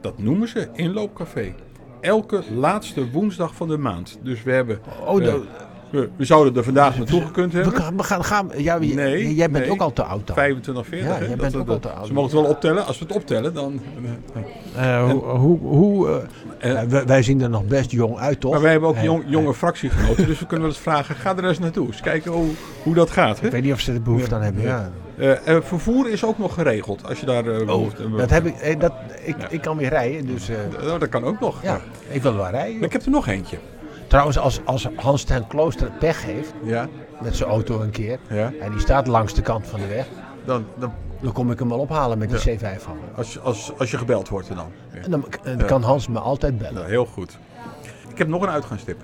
Speaker 2: Dat noemen ze inloopcafé. Elke laatste woensdag van de maand. Dus we hebben...
Speaker 3: Oh,
Speaker 2: eh,
Speaker 3: dat-
Speaker 2: we, we zouden er vandaag naartoe gekund
Speaker 3: we,
Speaker 2: hebben.
Speaker 3: gaan, we gaan, gaan ja, j-
Speaker 2: Nee,
Speaker 3: jij bent
Speaker 2: nee.
Speaker 3: ook al te oud dan.
Speaker 2: 25, 40.
Speaker 3: Ja,
Speaker 2: hè?
Speaker 3: jij
Speaker 2: Dat-
Speaker 3: bent
Speaker 2: dat-
Speaker 3: ook al
Speaker 2: dat-
Speaker 3: te oud.
Speaker 2: Ze mogen het wel optellen. Als we het optellen, dan...
Speaker 3: Eh, hoe, hoe, hoe, eh,
Speaker 2: Eh,
Speaker 3: eh, wij, wij zien er nog best jong uit, toch?
Speaker 2: Maar wij hebben ook
Speaker 3: Eh,
Speaker 2: jong, jonge fractiegenoten, dus we kunnen wel eens vragen, ga er eens naartoe. Eens kijken hoe, hoe dat gaat. Hè?
Speaker 3: Ik weet niet of ze er behoefte aan hebben. Ja.
Speaker 2: Eh, eh, vervoer is ook nog geregeld, als je daar eh, behoefte aan
Speaker 3: Oh, Dat
Speaker 2: hebt.
Speaker 3: heb ik, eh, dat, ik, ik kan weer rijden, dus eh,
Speaker 2: Nou, dat kan ook nog.
Speaker 3: ja, ik wil wel rijden.
Speaker 2: Ik heb er nog eentje.
Speaker 3: Trouwens, als, als Hans ten Klooster pech heeft
Speaker 2: Ja,
Speaker 3: met zijn auto een keer,
Speaker 2: Ja.
Speaker 3: en die staat langs de kant van de weg,
Speaker 2: dan, dan,
Speaker 3: dan kom ik hem wel ophalen met die C5 van me.
Speaker 2: als, als, als je gebeld wordt dan. Ja.
Speaker 3: En dan, dan kan Hans me altijd bellen.
Speaker 2: Nou, heel goed. Ik heb nog een uitgaanstip.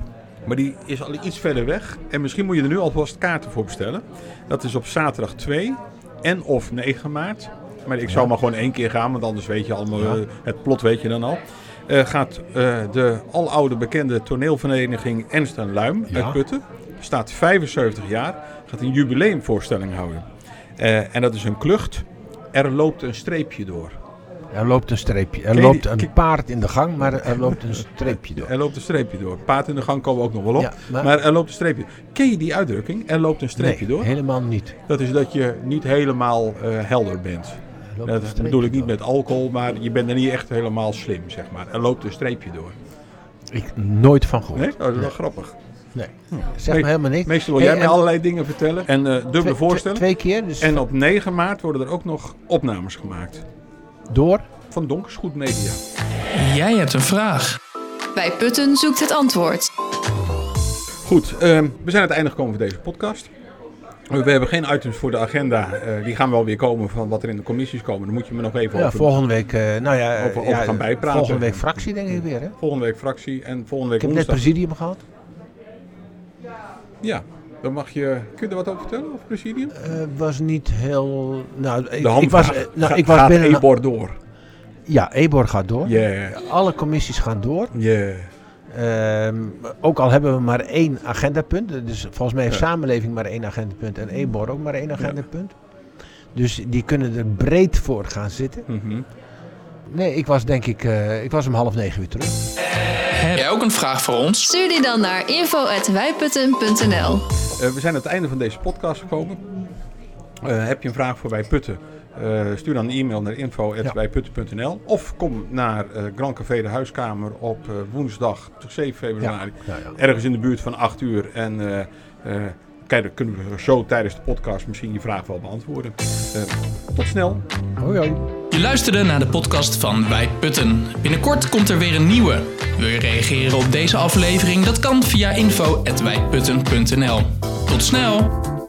Speaker 2: Maar die is al iets verder weg. En misschien moet je er nu alvast kaarten voor bestellen. Dat is op zaterdag 2 en of 9 maart. Maar ik zou maar gewoon één keer gaan, want anders weet je allemaal eh, het plot weet je dan al. Eh, gaat eh, de aloude bekende toneelvereniging Ernst en Luim uit Putten. Staat 75 jaar. Gaat een jubileumvoorstelling houden. Eh, en dat is een klucht. Er loopt een streepje door.
Speaker 3: Er loopt een streepje. Er
Speaker 2: Ken je
Speaker 3: loopt
Speaker 2: die-
Speaker 3: een
Speaker 2: ken-
Speaker 3: paard in de gang, maar er loopt een streepje door.
Speaker 2: Er loopt een streepje door. Paard in de gang komen we ook nog wel op.
Speaker 3: Ja, maar-
Speaker 2: maar... er loopt een streepje. Ken je die uitdrukking? Er loopt een streepje
Speaker 3: Nee,
Speaker 2: door.
Speaker 3: helemaal niet.
Speaker 2: Dat is dat je niet helemaal eh, helder bent.
Speaker 3: Er loopt een
Speaker 2: Dat
Speaker 3: streepje
Speaker 2: bedoel ik niet
Speaker 3: door.
Speaker 2: met alcohol, maar je bent er niet echt helemaal slim, zeg maar. Er loopt een streepje door.
Speaker 3: Ik nooit van gehoord.
Speaker 2: Nee? Oh, dat is wel grappig.
Speaker 3: Nee. Zeg
Speaker 2: Nee,
Speaker 3: me helemaal niks.
Speaker 2: Meestal wil
Speaker 3: Hey,
Speaker 2: jij mij
Speaker 3: en
Speaker 2: allerlei dingen vertellen en eh dubbele
Speaker 3: twee-
Speaker 2: voorstellen.
Speaker 3: Twee, twee keer, dus
Speaker 2: En op 9 maart worden er ook nog opnames gemaakt.
Speaker 3: door.
Speaker 2: Van Donkersgoed Media.
Speaker 1: Jij hebt een vraag.
Speaker 4: Bij Putten zoekt het antwoord.
Speaker 2: Goed, ehm, we zijn aan het einde gekomen van deze podcast. We hebben geen items voor de agenda. Eh, die gaan wel weer komen van wat er in de commissies komen. Dan moet je me nog even
Speaker 3: Ja,
Speaker 2: over...
Speaker 3: volgende week, eh, nou ja, eh,
Speaker 2: Over- over
Speaker 3: ja,
Speaker 2: gaan bijpraten.
Speaker 3: volgende week fractie denk ik weer. Hè?
Speaker 2: Volgende week fractie en volgende
Speaker 3: Ik
Speaker 2: week
Speaker 3: heb net
Speaker 2: woensdag.
Speaker 3: presidium gehad.
Speaker 2: Ja, dan mag je... Kun je er wat over vertellen, over presidium?
Speaker 3: Eh, was niet heel. Nou, ik,
Speaker 2: De
Speaker 3: ik
Speaker 2: handvraag.
Speaker 3: was, eh, nou,
Speaker 2: Ga-
Speaker 3: ik was
Speaker 2: gaat
Speaker 3: binnen.
Speaker 2: Ebor door?
Speaker 3: Ja, Ebor gaat door.
Speaker 2: Yeah,
Speaker 3: Alle commissies gaan door.
Speaker 2: yeah.
Speaker 3: Ehm, ook al hebben we maar één agendapunt. Dus volgens mij heeft samenleving maar één agendapunt en EBOR ook maar één agendapunt. Dus die kunnen er breed voor gaan zitten.
Speaker 2: Mhm.
Speaker 3: Nee, ik was denk ik, eh, ik was om half negen weer terug.
Speaker 1: Heb jij ook een vraag voor ons?
Speaker 4: Stuur die dan naar info.wijputten.nl
Speaker 2: Eh, we zijn aan het einde van deze podcast gekomen. Eh, heb je een vraag voor Wij Putten? eh, stuur dan een e-mail naar info.wijputten.nl Of kom naar eh, Grand Café de Huiskamer op eh, woensdag 7 februari.
Speaker 3: Ja, ja.
Speaker 2: Ergens in de buurt van 8 uur. En eh, eh, kijk, dan kunnen we zo tijdens de podcast misschien je vraag wel beantwoorden. Eh, tot snel.
Speaker 3: Hoi, hoi.
Speaker 1: Je luisterde naar de podcast van Wij Putten. Binnenkort komt er weer een nieuwe. Wil je reageren op deze aflevering? Dat kan via info.wijputten.nl. Tot snel!